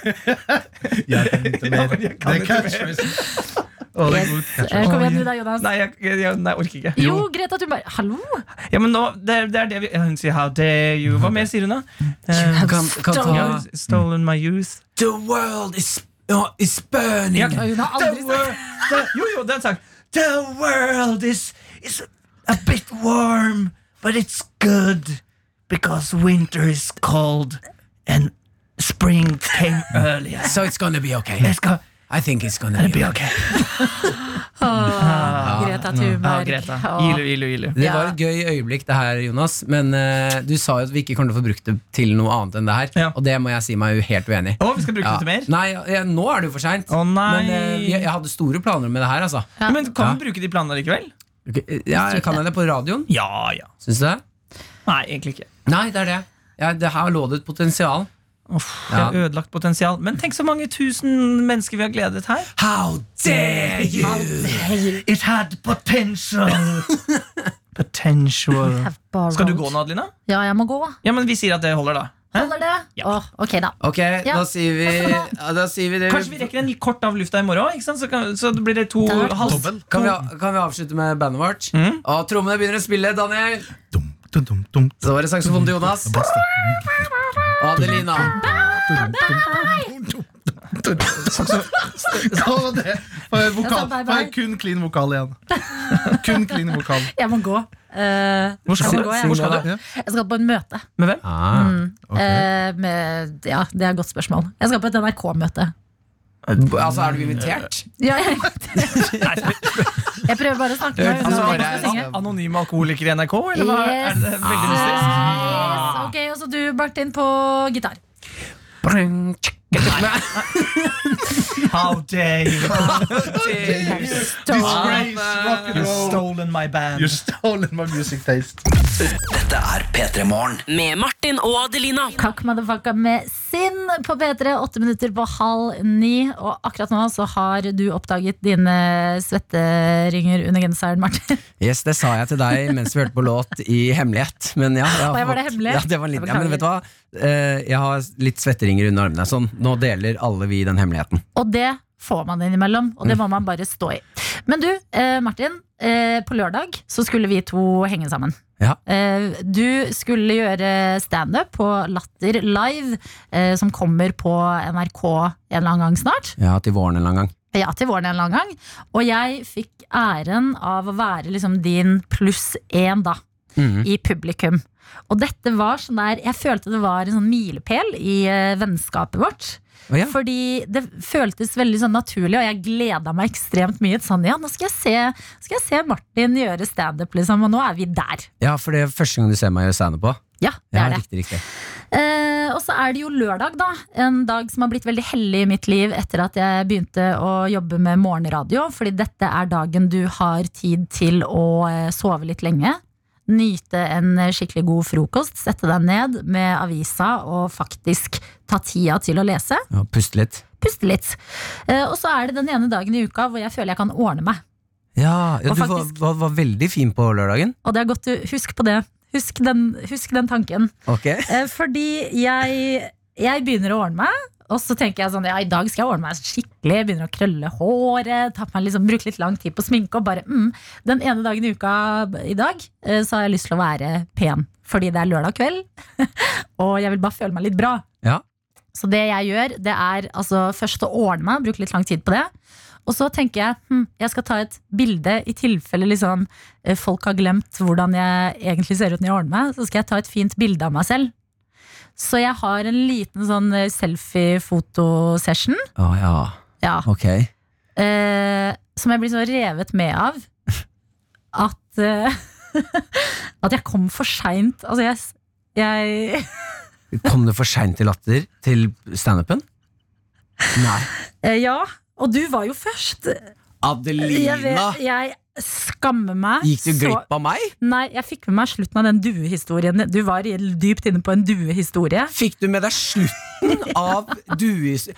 Speaker 5: Jeg kan ikke mer. Det
Speaker 2: kan ikke
Speaker 5: er
Speaker 2: mer.
Speaker 5: catchphrasen. Å, det er god
Speaker 3: Eh,
Speaker 5: catchphrase.
Speaker 3: Kom igjen, du da, Jonas.
Speaker 2: Nei, jeg, jeg, jeg nei, jeg orker ikke.
Speaker 3: Jo, Greta Thunberg. Hallo!
Speaker 2: Ja, men nå, det, er- det er det vi, Hun sier 'how dare you'. Hva mer sier hun, da? Eh,
Speaker 4: Kan, kan ta
Speaker 2: you've stolen my youth.
Speaker 6: The world is, uh, is burning.
Speaker 2: Ja,
Speaker 3: Ja, Hun har aldri
Speaker 2: The world, the, jo, jo, den sang. The world is, is a bit warm, but it's good because winter is cold and spring came earlier.
Speaker 4: So it's gonna be okay.
Speaker 2: Jeg skal
Speaker 4: I think it's gonna
Speaker 2: det
Speaker 4: be
Speaker 2: blir
Speaker 4: okay.
Speaker 2: ok.
Speaker 3: Åh, Greta
Speaker 2: Ja,
Speaker 3: Thunberg.
Speaker 2: Greta.
Speaker 3: Åh.
Speaker 2: Ilu, ilu, ilu.
Speaker 4: Det
Speaker 3: Ja.
Speaker 4: var et gøy øyeblikk, det her, Jonas. Men eh, du sa jo at vi ikke kommer til å få brukt det til noe annet enn det her.
Speaker 2: Ja.
Speaker 4: Og det må jeg si meg jo helt uenig i.
Speaker 2: Å, vi skal bruke
Speaker 4: Ja.
Speaker 2: det til mer?
Speaker 4: Nei, ja, nå er det jo for seint.
Speaker 2: Å, nei.
Speaker 4: Men eh, vi- jeg hadde store planer med det her, altså.
Speaker 3: Ja.
Speaker 2: Men kan vi bruke de planene likevel?
Speaker 4: Ok, eh, Ja, kan jeg det på radioen?
Speaker 2: Ja, ja.
Speaker 4: Syns du det?
Speaker 2: Nei, egentlig ikke.
Speaker 4: Nei, det er det. Ja, det her lå det et potensial.
Speaker 2: Uff, det
Speaker 4: Ja.
Speaker 2: er ødelagt potensial. Men tenk så mange tusen mennesker vi har gledet her.
Speaker 4: How dare you!
Speaker 2: It had potential. potential.
Speaker 3: Borrowed.
Speaker 2: Skal du gå nå, Adelina?
Speaker 3: Ja, jeg må gå.
Speaker 2: Ja, men vi sier at det holder, da. Hæ?
Speaker 3: Holder det?
Speaker 2: Ja.
Speaker 3: Åh, ok, da.
Speaker 4: Ok, da sier vi ja, Da sier vi det.
Speaker 2: Kanskje vi rekker en kort av lufta i morgen, ikke sant? Så, kan, så blir det to
Speaker 3: Det hadde vært
Speaker 2: halv...
Speaker 5: Dobbel.
Speaker 4: Kan vi, a- kan vi avslutte med bandet vårt?
Speaker 2: Mhm.
Speaker 4: Og trommene begynner å spille, Daniel.
Speaker 5: Dum, dum, dum, dum.
Speaker 4: Så var det saksofonen til Jonas. Og Adelina.
Speaker 5: Hva var det? Får jeg
Speaker 3: Jeg sa
Speaker 5: Vokal.
Speaker 3: bye,
Speaker 5: Får
Speaker 3: bye.
Speaker 5: jeg kun clean vokal igjen. Kun clean vokal.
Speaker 3: Jeg må gå. Eh,
Speaker 2: Hvor skal,
Speaker 3: jeg,
Speaker 2: du?
Speaker 3: må gå jeg.
Speaker 2: Hvor skal du?
Speaker 5: Ja.
Speaker 3: jeg skal på en møte.
Speaker 2: Med hvem?
Speaker 4: Ah.
Speaker 3: Eh, med, ja, det er et godt spørsmål. Jeg skal på et NRK-møte.
Speaker 4: Altså, er du invitert?
Speaker 3: Ja, jeg, jeg prøver bare å snakke meg
Speaker 2: Altså,
Speaker 3: unna.
Speaker 2: er
Speaker 3: hvem som skal synge.
Speaker 2: det anonyme alkoholikere i NRK, eller hva? Er det veldig mystisk?
Speaker 3: Yes, ok, Og så du, Martin, på gitar.
Speaker 2: How dare you?
Speaker 3: Stå-
Speaker 5: Eh, Disgrace, rock and
Speaker 2: You've
Speaker 5: roll.
Speaker 2: stolen my band.
Speaker 5: You're stolen my music taste.
Speaker 1: Med Martin og Adelina.
Speaker 3: Kakk motherfucker med Sinn på P3, åtte minutter på halv ni. Og akkurat nå så har du oppdaget dine svetteringer under genseren, Martin.
Speaker 4: Yes, det sa jeg til deg mens vi hørte på låt i hemmelighet. Men ja, jeg har
Speaker 3: Oi, var det
Speaker 4: fått-
Speaker 3: hemmelig?
Speaker 4: Ja, det var litt,
Speaker 3: Jeg
Speaker 4: ja, men vet du hva? Eh, Jeg har litt svetteringer under armene. Sånn, nå deler alle vi den hemmeligheten.
Speaker 3: Og det får man innimellom, og det må man bare stå i. Men du, eh, Martin. Eh, på lørdag så skulle vi to henge sammen.
Speaker 4: Ja.
Speaker 3: Eh, du skulle gjøre standup på Latter live, eh, som kommer på NRK en eller annen gang snart.
Speaker 4: Ja, til våren en eller annen gang.
Speaker 3: Ja, til våren en eller annen gang. Og jeg fikk æren av å være liksom din pluss én, da,
Speaker 2: Mm.
Speaker 4: Mhm.
Speaker 3: i publikum. Og dette var sånn der Jeg følte det var en sånn milepæl i eh, vennskapet vårt.
Speaker 4: Å, ja.
Speaker 3: Fordi det føltes veldig sånn naturlig, og jeg gleda meg ekstremt mye. Sånn, ja, nå skal jeg se, skal jeg se Martin gjøre standup, liksom, og nå er vi der.
Speaker 4: Ja, for det er første gang du ser meg gjøre standup på.
Speaker 3: Ja, det
Speaker 4: Ja,
Speaker 3: er det.
Speaker 4: riktig, riktig.
Speaker 3: Eh, og så er det jo lørdag, da. En dag som har blitt veldig hellig i mitt liv etter at jeg begynte å jobbe med morgenradio. Fordi dette er dagen du har tid til å eh, sove litt lenge. Nyte en eh, skikkelig god frokost, sette deg ned med avisa og faktisk ta tida til å lese.
Speaker 4: Ja, puste litt.
Speaker 3: Puste litt. Eh, og så er det den ene dagen i uka hvor jeg føler jeg kan ordne meg.
Speaker 4: Ja, ja
Speaker 3: Og
Speaker 4: du var,
Speaker 3: faktisk-
Speaker 4: var, var veldig fin på lørdagen.
Speaker 3: Og det er godt du Husk på det. Husk den, husk den tanken.
Speaker 4: Ok.
Speaker 3: Eh, Fordi jeg, jeg begynner å ordne meg, Og så tenker jeg sånn, ja, i dag skal jeg ordne meg skikkelig, begynner å krølle håret, ta på meg liksom, bruke litt lang tid på sminke, og bare, mm, den ene dagen i uka i dag, eh, så har jeg lyst til å være pen, fordi det er lørdag kveld, og jeg vil bare føle meg litt bra.
Speaker 4: Ja.
Speaker 3: Så det jeg gjør, det er altså først å ordne meg, bruke litt lang tid på det, og så tenker jeg, hm, jeg skal ta et bilde i tilfelle liksom, eh, folk har glemt hvordan jeg egentlig ser ut når jeg ordner meg, så skal jeg ta et fint bilde av meg selv. Så jeg har en liten sånn eh, selfie-fotosession.
Speaker 4: Å ja,
Speaker 3: Ja.
Speaker 4: ok.
Speaker 3: Eh, som jeg blir så revet med av at eh, At jeg kom for seint. Altså, jeg, s- jeg
Speaker 4: Kom du for seint til latter til standupen? Nei.
Speaker 3: eh, Ja, og du var jo først. Jeg,
Speaker 4: Adelina!
Speaker 3: vet, jeg skammer meg.
Speaker 4: Gikk du
Speaker 3: så-
Speaker 4: glipp av meg?
Speaker 3: Nei, jeg fikk med meg slutten av den duehistorien. Du var i- dypt inne på en duehistorie.
Speaker 4: Fikk du med deg slutten av dues...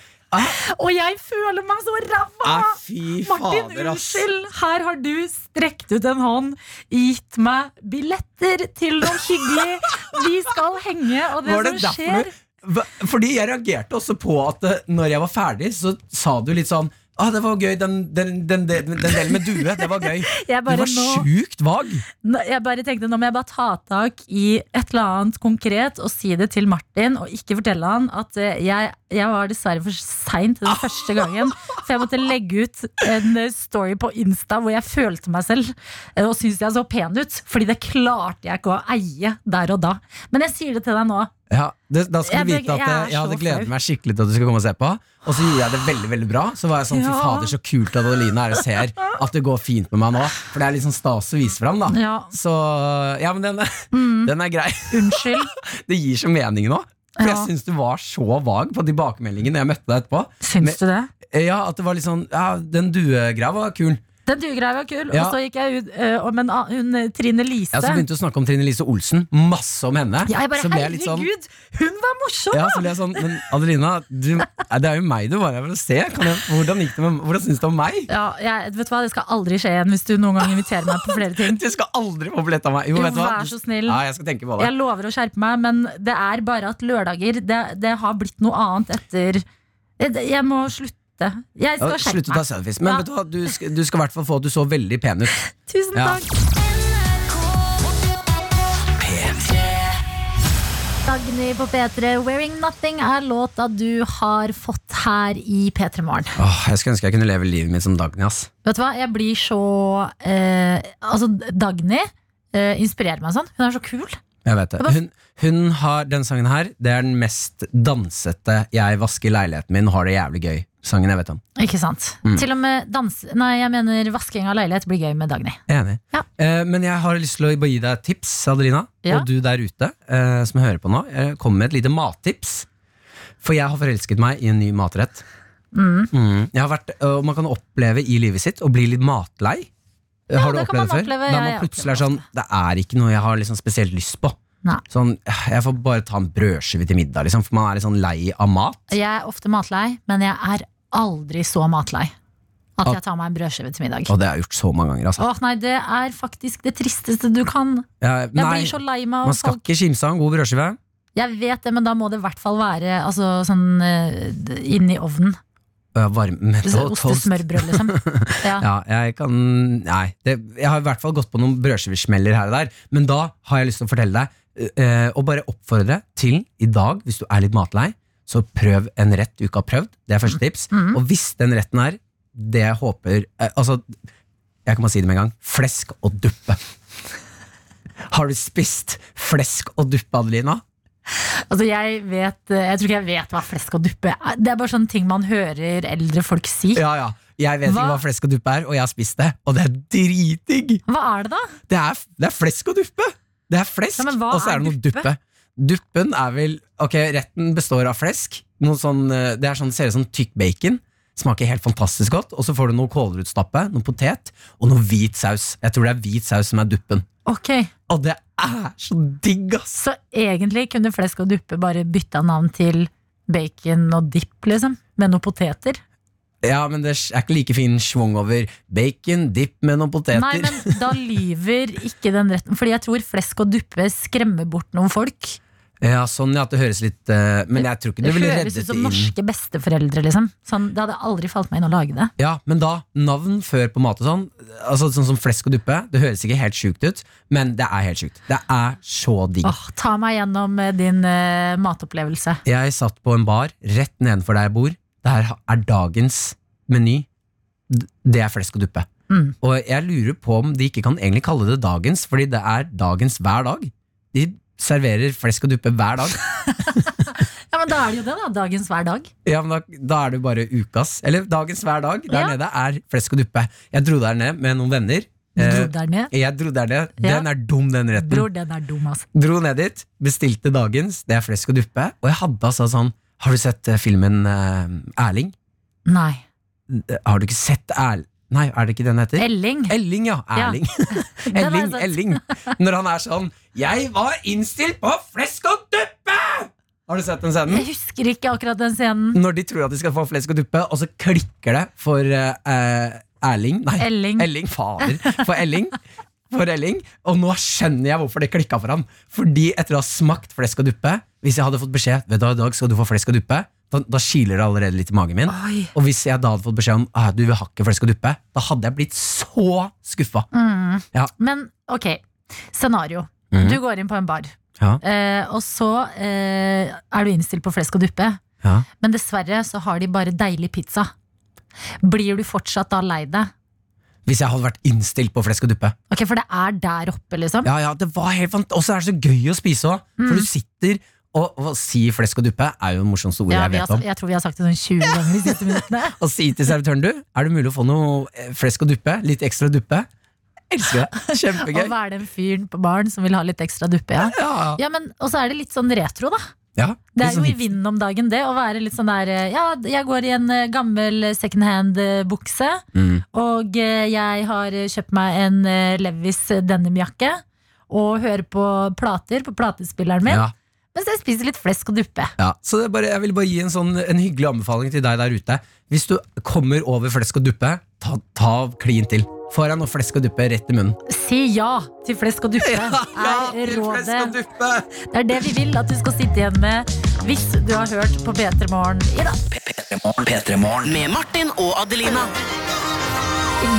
Speaker 3: Og jeg føler meg så ræva!
Speaker 4: Æ, fy
Speaker 3: Martin,
Speaker 4: fader, ass.
Speaker 3: unnskyld! Her har du strekt ut en hånd, gitt meg billetter til noe hyggelig. Vi skal henge, og det,
Speaker 4: Var det
Speaker 3: som
Speaker 4: derfor
Speaker 3: skjer
Speaker 4: du Hva- Fordi jeg reagerte også på at eh, når jeg var ferdig, så sa du litt sånn Ah, det var gøy, den, den, den, den, den delen med due, det var gøy.
Speaker 3: Jeg
Speaker 4: Du
Speaker 3: bare
Speaker 4: var
Speaker 3: nå-
Speaker 4: sjukt vag.
Speaker 3: Nå- Jeg bare tenkte, Nå må jeg bare ta tak i et eller annet konkret og si det til Martin. Og ikke fortelle han at eh, jeg, jeg var dessverre for seint den første gangen. For jeg måtte legge ut en eh, story på Insta hvor jeg følte meg selv eh, og syntes jeg så pen ut. Fordi det klarte jeg ikke å eie der og da. Men jeg sier det til deg nå.
Speaker 4: Ja, det, da skal
Speaker 3: Jeg
Speaker 4: du vite
Speaker 3: bare-
Speaker 4: at
Speaker 3: jeg
Speaker 4: eh,
Speaker 3: er
Speaker 4: jeg hadde
Speaker 3: så
Speaker 4: gledet
Speaker 3: flau.
Speaker 4: meg skikkelig til at du skulle komme og se på. Og så gjorde jeg det veldig veldig bra. Så var jeg sånn, fy
Speaker 3: Ja.
Speaker 4: fader, så kult at Adeline er og ser at det går fint med meg nå. For det er litt sånn stas å vise fram, da.
Speaker 3: Ja, Mm.
Speaker 4: Så ja, men den, er- den er grei.
Speaker 3: unnskyld.
Speaker 4: Det gir så mening nå. For
Speaker 3: Ja.
Speaker 4: jeg syns du var så vag på tilbakemeldingen jeg møtte deg etterpå. Men-
Speaker 3: Syns du det?
Speaker 4: Ja, at det var litt sånn Ja, den duegreia var kul.
Speaker 3: Den duegreia var kul.
Speaker 4: Ja.
Speaker 3: Og så gikk jeg ut eh, og- Men ah, hun eh, Trine Lise
Speaker 4: Ja, Så begynte du å snakke om Trine Lise Olsen. Masse om henne.
Speaker 3: Ja, jeg bare,
Speaker 4: så ble jeg litt sånn
Speaker 3: Herregud, hun var morsom!
Speaker 4: ja, så ble jeg sånn, Men Adelina, du, ja, det er jo meg du var her for å se. Kan jeg, hvordan gikk det med, hvordan syns du om meg?
Speaker 3: Ja, jeg, vet du hva, Det skal aldri skje igjen hvis du noen gang inviterer meg på flere ting.
Speaker 4: Du skal aldri få billett av meg. Jo,
Speaker 3: Jo,
Speaker 4: vet du hva?
Speaker 3: vær så snill.
Speaker 4: Ja, jeg skal tenke på det.
Speaker 3: Jeg lover å skjerpe meg, men det er bare at lørdager Det, det har blitt noe annet etter Jeg, jeg må slutte. Jeg
Speaker 4: Ja,
Speaker 3: skal
Speaker 4: Slutt
Speaker 3: skjerpe
Speaker 4: å ta
Speaker 3: meg.
Speaker 4: selfies. Men
Speaker 3: Ja.
Speaker 4: vet du hva, du skal, du skal i hvert fall få at du så veldig pen ut.
Speaker 3: Tusen
Speaker 4: Ja.
Speaker 3: takk. Dagny på P3, 'Wearing Nothing' er låta du har fått her i P3 Morgen.
Speaker 4: Åh, jeg skulle ønske jeg kunne leve livet mitt som Dagny. ass
Speaker 3: Vet du hva, jeg blir så eh, Altså, Dagny eh, inspirerer meg sånn. Hun er så kul.
Speaker 4: Jeg vet
Speaker 3: Hva-
Speaker 4: det. Hun, hun har den sangen her. Det er den mest dansete 'jeg vasker leiligheten min og har det jævlig gøy'-sangen jeg vet om.
Speaker 3: Ikke sant?
Speaker 4: Mm.
Speaker 3: Til og med dans... Nei, jeg mener vasking av leilighet blir gøy med Dagny.
Speaker 4: Enig.
Speaker 3: Ja.
Speaker 4: Eh, men jeg har lyst til å bare gi deg et tips, Adelina,
Speaker 3: Ja.
Speaker 4: og du der ute eh, som hører på nå. Eh, kom med et lite mattips. For jeg har forelsket meg i en ny matrett. Mm. Jeg har vært, eh, og man kan oppleve i livet sitt å bli litt matlei. Eh,
Speaker 3: Ja,
Speaker 4: har du
Speaker 3: det kan
Speaker 4: opplevd det
Speaker 3: man
Speaker 4: før?
Speaker 3: oppleve.
Speaker 4: Da
Speaker 3: Jeg
Speaker 4: man
Speaker 3: har
Speaker 4: plutselig er
Speaker 3: opplevd
Speaker 4: sånn Det er ikke noe jeg har liksom spesielt lyst på.
Speaker 3: Nei.
Speaker 4: Sånn, eh, Jeg får bare ta en brødskive til middag, liksom, for man er litt sånn lei av mat.
Speaker 3: Jeg er ofte matlei, men jeg er aldri så matlei at
Speaker 4: At-
Speaker 3: jeg tar meg en brødskive til middag.
Speaker 4: Og det har jeg gjort så mange ganger. Altså.
Speaker 3: Åh, nei, det er faktisk det tristeste du kan.
Speaker 4: Jeg,
Speaker 3: Jeg
Speaker 4: nei,
Speaker 3: blir så lei meg
Speaker 4: man
Speaker 3: av
Speaker 4: skal
Speaker 3: folk.
Speaker 4: ikke kimse av en god brødskive.
Speaker 3: Jeg vet det, men da må det i hvert fall være altså, sånn uh, inni ovnen.
Speaker 4: Øh, varm og toast.
Speaker 3: Ostesmørbrød, liksom. Ja.
Speaker 4: Ja, jeg kan Nei. Det, jeg har i hvert fall gått på noen brødskivesmeller her og der, men da har jeg lyst til å fortelle deg, øh, øh, og bare oppfordre til i dag, hvis du er litt matlei, så prøv en rett du ikke har prøvd. Det er første tips. Og hvis den retten er det jeg håper eh, Altså, jeg kan bare si det med en gang. Flesk og duppe. Har du spist flesk og duppe, Adelina?
Speaker 3: Altså, jeg, vet, eh, jeg tror ikke jeg vet hva flesk og duppe er. Det er bare sånne ting man hører eldre folk si.
Speaker 4: Ja, ja. Jeg vet
Speaker 3: Hva?
Speaker 4: ikke hva flesk og duppe er, og jeg har spist det. Og det er dritdigg!
Speaker 3: Hva er det, da?
Speaker 4: Det er, det er flesk og duppe! Det er flesk,
Speaker 3: Ja, men hva
Speaker 4: og så
Speaker 3: er
Speaker 4: er det noe
Speaker 3: duppe?
Speaker 4: duppe. Duppen er vel Ok, retten består av flesk. Noe sånn, eh, det er sånn, ser ut som tykk bacon. Smaker helt fantastisk godt. Og så får du noe kålrotstappe, noe potet og noe hvit saus. Jeg tror det er hvit saus som er duppen.
Speaker 3: Ok
Speaker 4: Og det er så digg, ass!
Speaker 3: Så egentlig kunne flesk og duppe bare bytta navn til bacon og dipp, liksom. Med noen poteter.
Speaker 4: Ja, men det er ikke like fin schwung over bacon, dipp med noen poteter.
Speaker 3: Nei, men da lyver ikke den retten. Fordi jeg tror flesk og duppe skremmer bort noen folk.
Speaker 4: Ja, sånn ja, at det høres litt eh, Men jeg tror ikke
Speaker 3: Det
Speaker 4: du ville
Speaker 3: høres
Speaker 4: reddet
Speaker 3: ut
Speaker 4: det
Speaker 3: som
Speaker 4: inn.
Speaker 3: norske besteforeldre, liksom. Sånn, det hadde aldri falt meg inn å lage det.
Speaker 4: Ja, men da, navn før på mat og sånn Altså sånn som flesk og duppe Det høres ikke helt sjukt ut, men det er helt sjukt Det er så digg
Speaker 3: Åh, ta meg gjennom eh, din eh, matopplevelse.
Speaker 4: Jeg satt på en bar rett nedenfor der jeg bor Der er dagens meny D- Det er flesk og duppe
Speaker 3: Mm.
Speaker 4: Og jeg lurer på om de ikke kan egentlig kalle det dagens Fordi det er dagens hver dag De serverer flesk og duppe hver dag
Speaker 3: Ja, men da er det jo det, da. Dagens hver dag.
Speaker 4: Ja, men da, da er det jo bare ukas Eller dagens hver dag Der
Speaker 3: Ja.
Speaker 4: nede er flesk og duppe Jeg dro der ned med noen venner
Speaker 3: Du dro
Speaker 4: Eh,
Speaker 3: der ned.
Speaker 4: Jeg dro der ned.
Speaker 3: Ja.
Speaker 4: Den er dum, den retten.
Speaker 3: Bror, den er dum, altså.
Speaker 4: Dro ned dit, bestilte dagens. Det er flesk og duppe. Og jeg hadde altså sånn Har du sett eh, filmen eh, Erling?
Speaker 3: Nei.
Speaker 4: Eh, Har du ikke sett Erl... Nei, er det ikke den heter?
Speaker 3: Elling.
Speaker 4: Elling, ja.
Speaker 3: Ja. sånn. var
Speaker 4: Erling. Eh, Elling,
Speaker 3: sant.
Speaker 4: Elling. Når han er sånn 'Jeg var innstilt på flesk og duppe!' Har du sett den scenen?
Speaker 3: Jeg husker ikke akkurat den scenen.
Speaker 4: Når de tror at de skal få flesk og duppe, og så klikker det for eh, eh, Erling. Nei,
Speaker 3: Elling.
Speaker 4: Mm. Elling, fader. For Elling. For Elling. Og nå skjønner jeg hvorfor det klikka for ham. Fordi etter å ha smakt flesk og duppe Hvis jeg hadde fått beskjed Vet du hva, i dag skal du få flesk og duppe, da, da kiler det allerede litt i magen min.
Speaker 3: Oi.
Speaker 4: Og hvis jeg da hadde fått beskjed om ah, du vil ha ikke flesk og duppe, da hadde jeg blitt så skuffa.
Speaker 3: Mm.
Speaker 4: Ja.
Speaker 3: Men ok, scenario.
Speaker 4: Mhm.
Speaker 3: Du går inn på en bar,
Speaker 4: Ja.
Speaker 3: eh, og så eh, er du innstilt på flesk og duppe.
Speaker 4: Ja.
Speaker 3: Men dessverre så har de bare deilig pizza. Blir du fortsatt da lei deg?
Speaker 4: Hvis jeg hadde vært innstilt på flesk og duppe.
Speaker 3: Ok, For det er der oppe, liksom.
Speaker 4: Ja, ja, det var helt fant Og så er det så gøy å spise òg,
Speaker 3: Mm.
Speaker 4: for du sitter og, og si flesk og duppe er jo det morsomste ordet
Speaker 3: Ja,
Speaker 4: jeg
Speaker 3: vi
Speaker 4: vet
Speaker 3: har,
Speaker 4: om.
Speaker 3: jeg tror vi har sagt det sånn 20 ganger de siste minuttene.
Speaker 4: Og si til servitøren du, er det mulig å få noe eh, flesk og duppe? Litt ekstra duppe? Elsker det. Kjempegøy.
Speaker 3: Og hva er den fyren på baren som vil ha litt ekstra duppe? Ja.
Speaker 4: Ja,
Speaker 3: Ja, men, og så er det litt sånn retro, da.
Speaker 4: ja.
Speaker 3: Det
Speaker 4: Litt
Speaker 3: er
Speaker 4: sånn
Speaker 3: jo i
Speaker 4: hipster.
Speaker 3: vinden om dagen, det. Å være litt sånn der eh, Ja, jeg går i en eh, gammel second hand-bukse.
Speaker 4: Mm.
Speaker 3: Og eh, jeg har eh, kjøpt meg en eh, Levis denimjakke. Og hører på plater på platespilleren min.
Speaker 4: Ja,
Speaker 3: Mens jeg spiser litt flesk og duppe.
Speaker 4: ja. Så det er bare, jeg vil bare gi en, sånn, en hyggelig anbefaling til deg der ute. Hvis du kommer over flesk og duppe, ta, ta klin til. Får jeg noe flesk og duppe rett i munnen.
Speaker 3: Si ja til flesk og duppe, er rådet. Det er det vi vil at du skal sitte igjen med hvis du har hørt på P3 Morgen i dag.
Speaker 1: Med Martin og Adelina.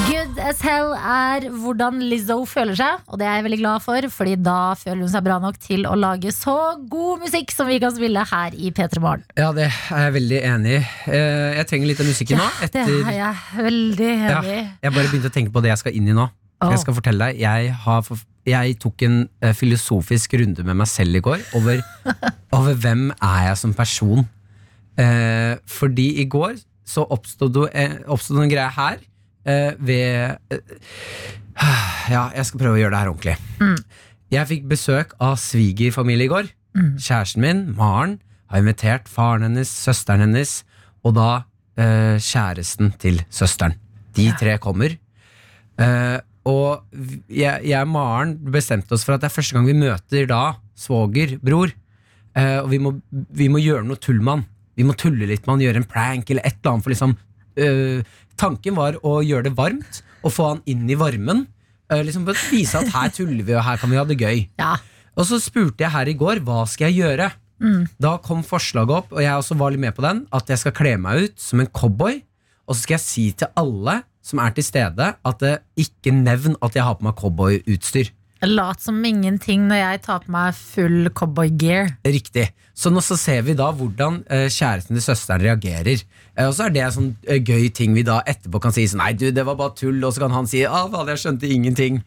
Speaker 3: Good as hell er hvordan Lizzo føler seg, og det er jeg veldig glad for, fordi da føler hun seg bra nok til å lage så god musikk som vi kan spille her i P3 Morgen.
Speaker 4: Ja, det er jeg veldig enig i. Eh, Jeg trenger litt av musikken nå.
Speaker 3: Det
Speaker 4: Etter,
Speaker 3: er jeg veldig
Speaker 4: Ja,
Speaker 3: enig i.
Speaker 4: jeg bare begynte å tenke på det jeg skal inn i nå.
Speaker 3: Åh.
Speaker 4: Jeg skal fortelle deg jeg, har, for- jeg tok en eh, filosofisk runde med meg selv i går over, over hvem er jeg som person. Eh, fordi i går så oppstod det eh, oppstod det en greie her eh, ved eh, Ja, jeg skal prøve å gjøre det her ordentlig. Jeg fikk besøk av svigerfamilie i går. Kjæresten min, Maren, har invitert faren hennes, søsteren hennes og da eh, kjæresten til søsteren. De tre kommer. Eh, og vi- jeg, jeg og Maren bestemte oss for at det er første gang vi møter da svoger, bror. Eh, og vi må, vi må gjøre noe tull med han. Vi må tulle litt med han, gjøre en prank eller et eller annet. For liksom, eh, tanken var å gjøre det varmt og få han inn i varmen. Eh, liksom for å Vise at her tuller vi, og her kan vi ha det gøy.
Speaker 3: Ja.
Speaker 4: Og så spurte jeg her i går hva skal jeg gjøre. Da kom forslaget opp, og jeg også var litt med på den, at jeg skal kle meg ut som en cowboy. Og så skal jeg si til alle som er til stede, at eh, ikke nevn at jeg har på meg cowboyutstyr.
Speaker 3: Lat som ingenting når jeg tar på meg full cowboygear.
Speaker 4: Riktig. Så nå så ser vi da hvordan eh, kjæresten til søsteren reagerer. Eh, og så er det en sånn eh, gøy ting vi da etterpå kan si sånn Nei, du, det var bare tull. Og så kan han si ah, faen, jeg skjønte ingenting.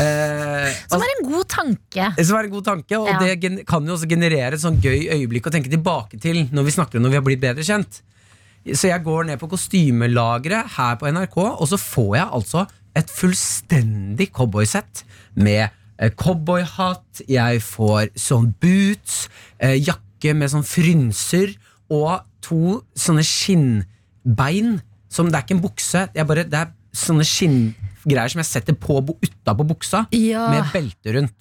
Speaker 4: Eh,
Speaker 3: Som er en god tanke.
Speaker 4: Det skal være en god tanke, og
Speaker 3: Ja.
Speaker 4: det gen- kan jo også generere et sånn gøy øyeblikk å tenke tilbake til når vi snakker om når vi har blitt bedre kjent. Så jeg går ned på kostymelageret her på NRK, og så får jeg altså et fullstendig cowboysett med eh, cowboyhatt, jeg får sånn boots, eh, jakke med sånn frynser og to sånne skinnbein som Det er ikke en bukse, det er bare, det er sånne skinngreier som jeg setter på bo- utapå buksa,
Speaker 3: Ja.
Speaker 4: med belte rundt.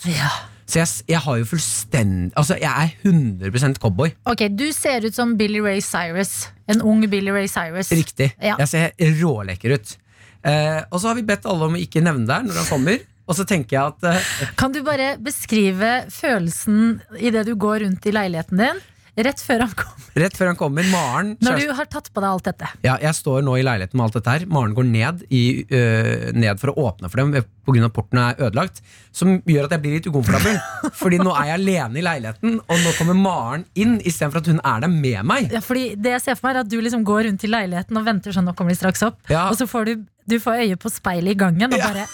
Speaker 4: Så jeg, s- jeg har jo fullstendig Altså, jeg er 100 cowboy.
Speaker 3: Ok, Du ser ut som Billy Ray Cyrus. En ung Billy Ray Cyrus.
Speaker 4: Riktig.
Speaker 3: Ja.
Speaker 4: Jeg ser rålekker ut. Eh, og så har vi bedt alle om å ikke nevne det her når han kommer. Og så tenker jeg at eh,
Speaker 3: Kan du bare beskrive følelsen idet du går rundt i leiligheten din? Rett før han kom.
Speaker 4: rett før han kommer, Maren
Speaker 3: Når
Speaker 4: kjæresten-
Speaker 3: du har tatt på deg alt dette.
Speaker 4: ja, Jeg står nå i leiligheten med alt dette her. Maren går ned, i, øh, ned for å åpne for dem pga. porten er ødelagt. Som gjør at jeg blir litt ukomfortabel. Fordi nå er jeg alene i leiligheten, og nå kommer Maren inn istedenfor at hun er der med meg.
Speaker 3: Ja, fordi det jeg ser for meg er at du liksom går rundt i leiligheten og venter sånn, nå kommer de straks opp.
Speaker 4: Ja.
Speaker 3: Og så får du, du får øye på speilet i gangen og bare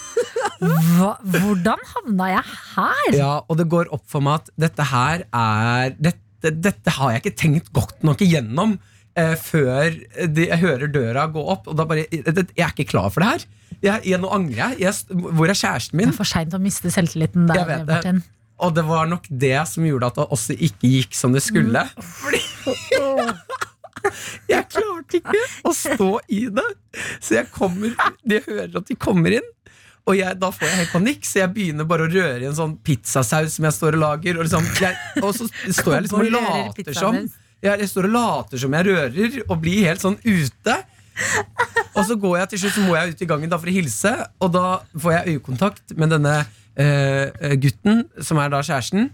Speaker 3: Hva, Hvordan havna jeg her?
Speaker 4: Ja, og det går opp for meg at dette her er Dette, dette har jeg ikke tenkt godt nok igjennom eh, før de, jeg hører døra gå opp. Og da bare Jeg jeg er ikke klar for det her. Jeg, jeg, nå angrer jeg. jeg. Hvor er kjæresten
Speaker 3: Det
Speaker 4: min?
Speaker 3: er for seint å miste selvtilliten der,
Speaker 4: Jeg vet det.
Speaker 3: Martin.
Speaker 4: Og det var nok det som gjorde at det også ikke gikk som det skulle. Fordi jeg klarte ikke å stå i det. Så jeg kommer De hører at de kommer inn. Og jeg, da får jeg helt panikk, så jeg begynner bare å røre i en sånn pizzasaus som jeg står og lager. Og, liksom, jeg, og så står jeg liksom og
Speaker 3: Hvor rører
Speaker 4: later
Speaker 3: pizzaen
Speaker 4: som.
Speaker 3: din?
Speaker 4: Jeg, jeg står og later som jeg rører, og blir helt sånn ute. Og så går jeg til slutt, så må jeg ut i gangen da for å hilse, og da får jeg øyekontakt med denne eh, eh, gutten, som er da kjæresten.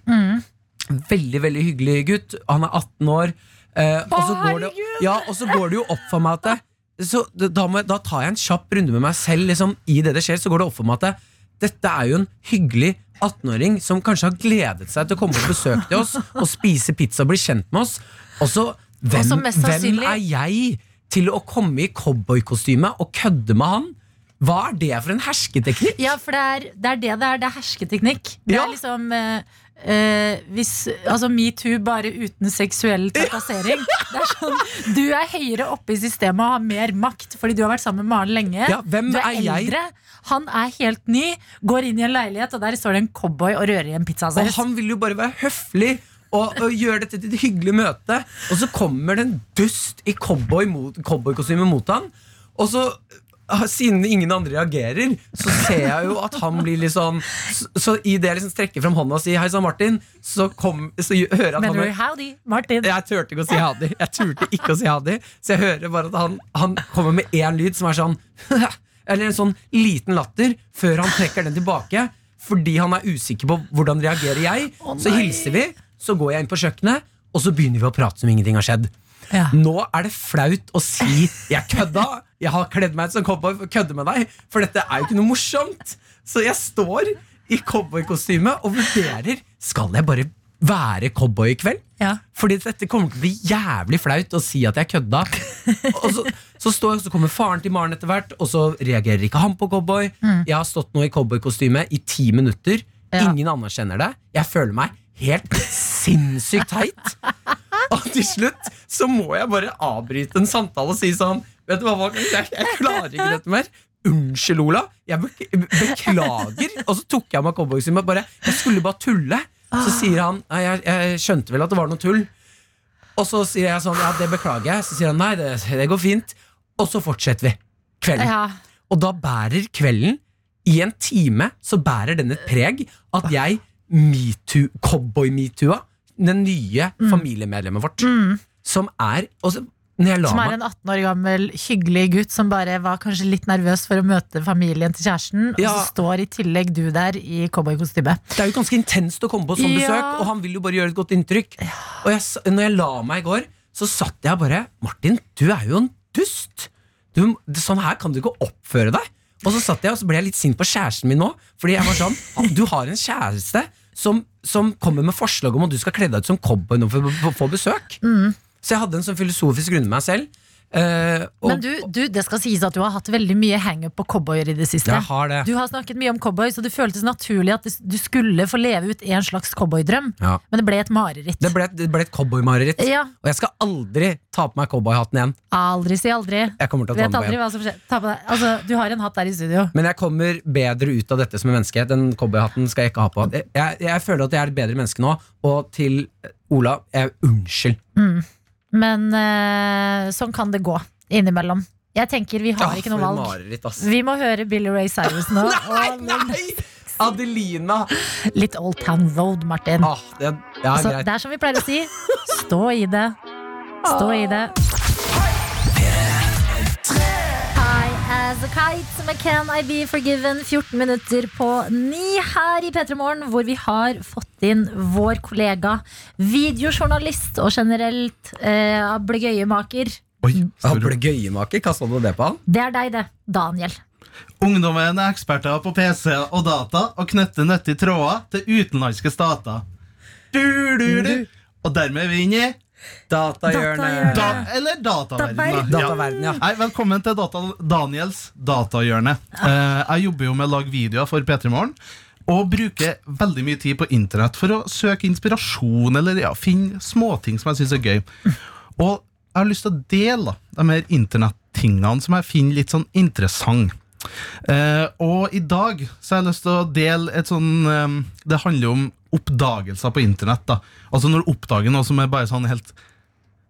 Speaker 4: Veldig, veldig hyggelig gutt. Han er 18 år. eh, og, så går det, ja, og så går det jo opp for meg at det, så d- da, må, jeg- da tar jeg en kjapp runde med meg selv liksom, i det det skjer. Så går det opp for meg at det, dette er jo en hyggelig 18-åring som kanskje har gledet seg til å komme på besøk til oss og spise pizza og bli kjent med oss. Og så,
Speaker 3: Og så
Speaker 4: hvem,
Speaker 3: mest
Speaker 4: hvem
Speaker 3: sannsynlig-
Speaker 4: er jeg til å komme i cowboykostyme og kødde med han? Hva er det for en hersketeknikk?
Speaker 3: Ja, for det er det er det det er. Det er hersketeknikk. Det
Speaker 4: Ja.
Speaker 3: er liksom eh, eh, hvis, altså metoo bare uten seksuell trakassering. Det er sånn, du er høyere oppe i systemet og har mer makt fordi du har vært sammen med Maren lenge.
Speaker 4: Ja, hvem
Speaker 3: du er,
Speaker 4: er jeg?
Speaker 3: eldre. Han er helt ny, går inn i en leilighet, og der står det en cowboy og rører i en
Speaker 4: Og
Speaker 3: pizzasaus.
Speaker 4: han vil jo bare være høflig og, og gjøre dette til et hyggelig møte. Og så kommer det en dust i cowboy mot- cowboykostyme mot, han. Og så, ah, siden ingen andre reagerer, så ser jeg jo at han blir litt sånn Så, så i det jeg liksom strekker fram hånda og sier 'Hei sann, Martin', så, kom, så gjø- hører jeg at
Speaker 3: Mener
Speaker 4: han
Speaker 3: du howdy, Martin?
Speaker 4: Jeg turte ikke å si hadi. Jeg turte ikke å si hadi Så jeg hører bare at han, han kommer med én lyd som er sånn Eller en sånn liten latter før han trekker den tilbake. Fordi han er usikker på hvordan reagerer jeg. så hilser vi, så går jeg inn på kjøkkenet, og så begynner vi å prate som ingenting har skjedd.
Speaker 3: Ja.
Speaker 4: Nå er det flaut å si 'jeg kødda', 'jeg har kledd meg ut som cowboy for å kødde med deg', for dette er jo ikke noe morsomt. Så jeg står i cowboykostyme og vurderer Skal jeg bare være cowboy i kveld.
Speaker 3: Ja.
Speaker 4: Fordi dette kommer til å bli jævlig flaut å si at jeg kødda. Og så, så, står, jeg- så kommer faren til Maren etter hvert, og så reagerer ikke han på cowboy. Jeg har stått nå i cowboykostyme i ti minutter.
Speaker 3: Mm. Ja.
Speaker 4: Ingen anerkjenner det. Jeg føler meg helt sinnssykt teit. Og til slutt så må jeg bare avbryte en samtale og si sånn Vet du hva, Magnus, jeg, jeg klarer ikke dette mer. Unnskyld, Ola. Jeg bek- beklager. Og så tok jeg av meg cowboykostymen. og bare, Jeg skulle bare tulle. Så sier han Nei, jeg, jeg skjønte vel at det var noe tull. Og så sier jeg sånn Ja, det beklager jeg. Så sier han nei, det, det går fint. Og så fortsetter vi kvelden.
Speaker 3: Ja.
Speaker 4: Og da bærer kvelden I en time så bærer den et preg At jeg metoo, cowboy-metooa Den nye
Speaker 3: Mm.
Speaker 4: familiemedlemmet vårt Som er og så- Når jeg la
Speaker 3: Som er
Speaker 4: meg
Speaker 3: en 18 år gammel hyggelig gutt som bare var kanskje litt nervøs for å møte familien til kjæresten, og
Speaker 4: Ja.
Speaker 3: så står i tillegg du der i cowboykostyme.
Speaker 4: Det er jo ganske intenst å komme på sånn
Speaker 3: Ja.
Speaker 4: besøk Og han vil jo bare gjøre et godt inntrykk Og jeg, s- når jeg la meg i går Så satt jeg bare Martin, du er jo en dust du, Sånn her kan du ikke oppføre deg Og så satt jeg og så ble jeg litt sint på kjæresten min nå Fordi jeg var sånn "Ah, Du har en kjæreste som, som kommer med forslag om at du skal kle deg ut som cowboy nå for å få besøk.
Speaker 3: Mm.
Speaker 4: Så jeg hadde en sånn filosofisk runde med meg selv. eh, og,
Speaker 3: Men du, du, det skal sies at du har hatt veldig mye hangup på cowboyer i det siste.
Speaker 4: jeg har det.
Speaker 3: Du har snakket mye om cowboy, så det føltes naturlig at du skulle få leve ut en slags cowboydrøm.
Speaker 4: Ja.
Speaker 3: Men det ble et mareritt.
Speaker 4: Det ble, et- det ble et cowboymareritt.
Speaker 3: Ja.
Speaker 4: Og jeg skal aldri ta på meg cowboyhatten igjen.
Speaker 3: Aldri si aldri.
Speaker 4: Jeg kommer til å ta
Speaker 3: Vet
Speaker 4: den på igjen.
Speaker 3: aldri hva som skjer. Ta på deg. Altså, du har en hatt der i studio.
Speaker 4: Men jeg kommer bedre ut av dette som en menneske. Den cowboyhatten skal jeg ikke ha på. Jeg, jeg, jeg føler at jeg er et bedre menneske nå. Og til Ola, jeg, unnskyld.
Speaker 3: Men eh, sånn kan det gå innimellom. Jeg tenker vi har
Speaker 4: Ah,
Speaker 3: ikke noe
Speaker 4: for et
Speaker 3: valg.
Speaker 4: Mareritt, ass.
Speaker 3: Vi må høre Billy Ray Cyrus nå. og
Speaker 4: Nei! Adelina!
Speaker 3: Litt Old Town Road, Martin.
Speaker 4: Ah, det, ja,
Speaker 3: altså,
Speaker 4: greit.
Speaker 3: det er som vi pleier å si. Stå i det. Stå i det. I As a Kite med Can I Be Forgiven. 14 minutter på ni her i P3 Morgen, hvor vi har fått inn vår kollega videojournalist og generelt eh, ablegøyemaker.
Speaker 5: Oi,
Speaker 4: Ble gøyemaker? Kasta du det på han?
Speaker 3: Det er deg, det. Daniel.
Speaker 5: Ungdommen er eksperter på PC og data og knytter nyttige tråder til utenlandske stater. Du, du, du. Og dermed er vi inne i
Speaker 4: Datahjørnet.
Speaker 5: da, eller dataverdenen. da. Ja.
Speaker 4: Dataverden, ja.
Speaker 5: Hei, velkommen til data, Daniels datahjørne. Eh, jeg jobber jo med å lage videoer for P3 Morgen. Og bruker veldig mye tid på internett for å søke inspirasjon eller ja, finne småting som jeg syns er gøy. Og jeg har lyst til å dele da, de her internettingene som jeg finner litt sånn interessant. Eh, og i dag så har jeg lyst til å dele et sånn eh, Det handler jo om oppdagelser på internett. da Altså når du oppdager noe som er bare sånn helt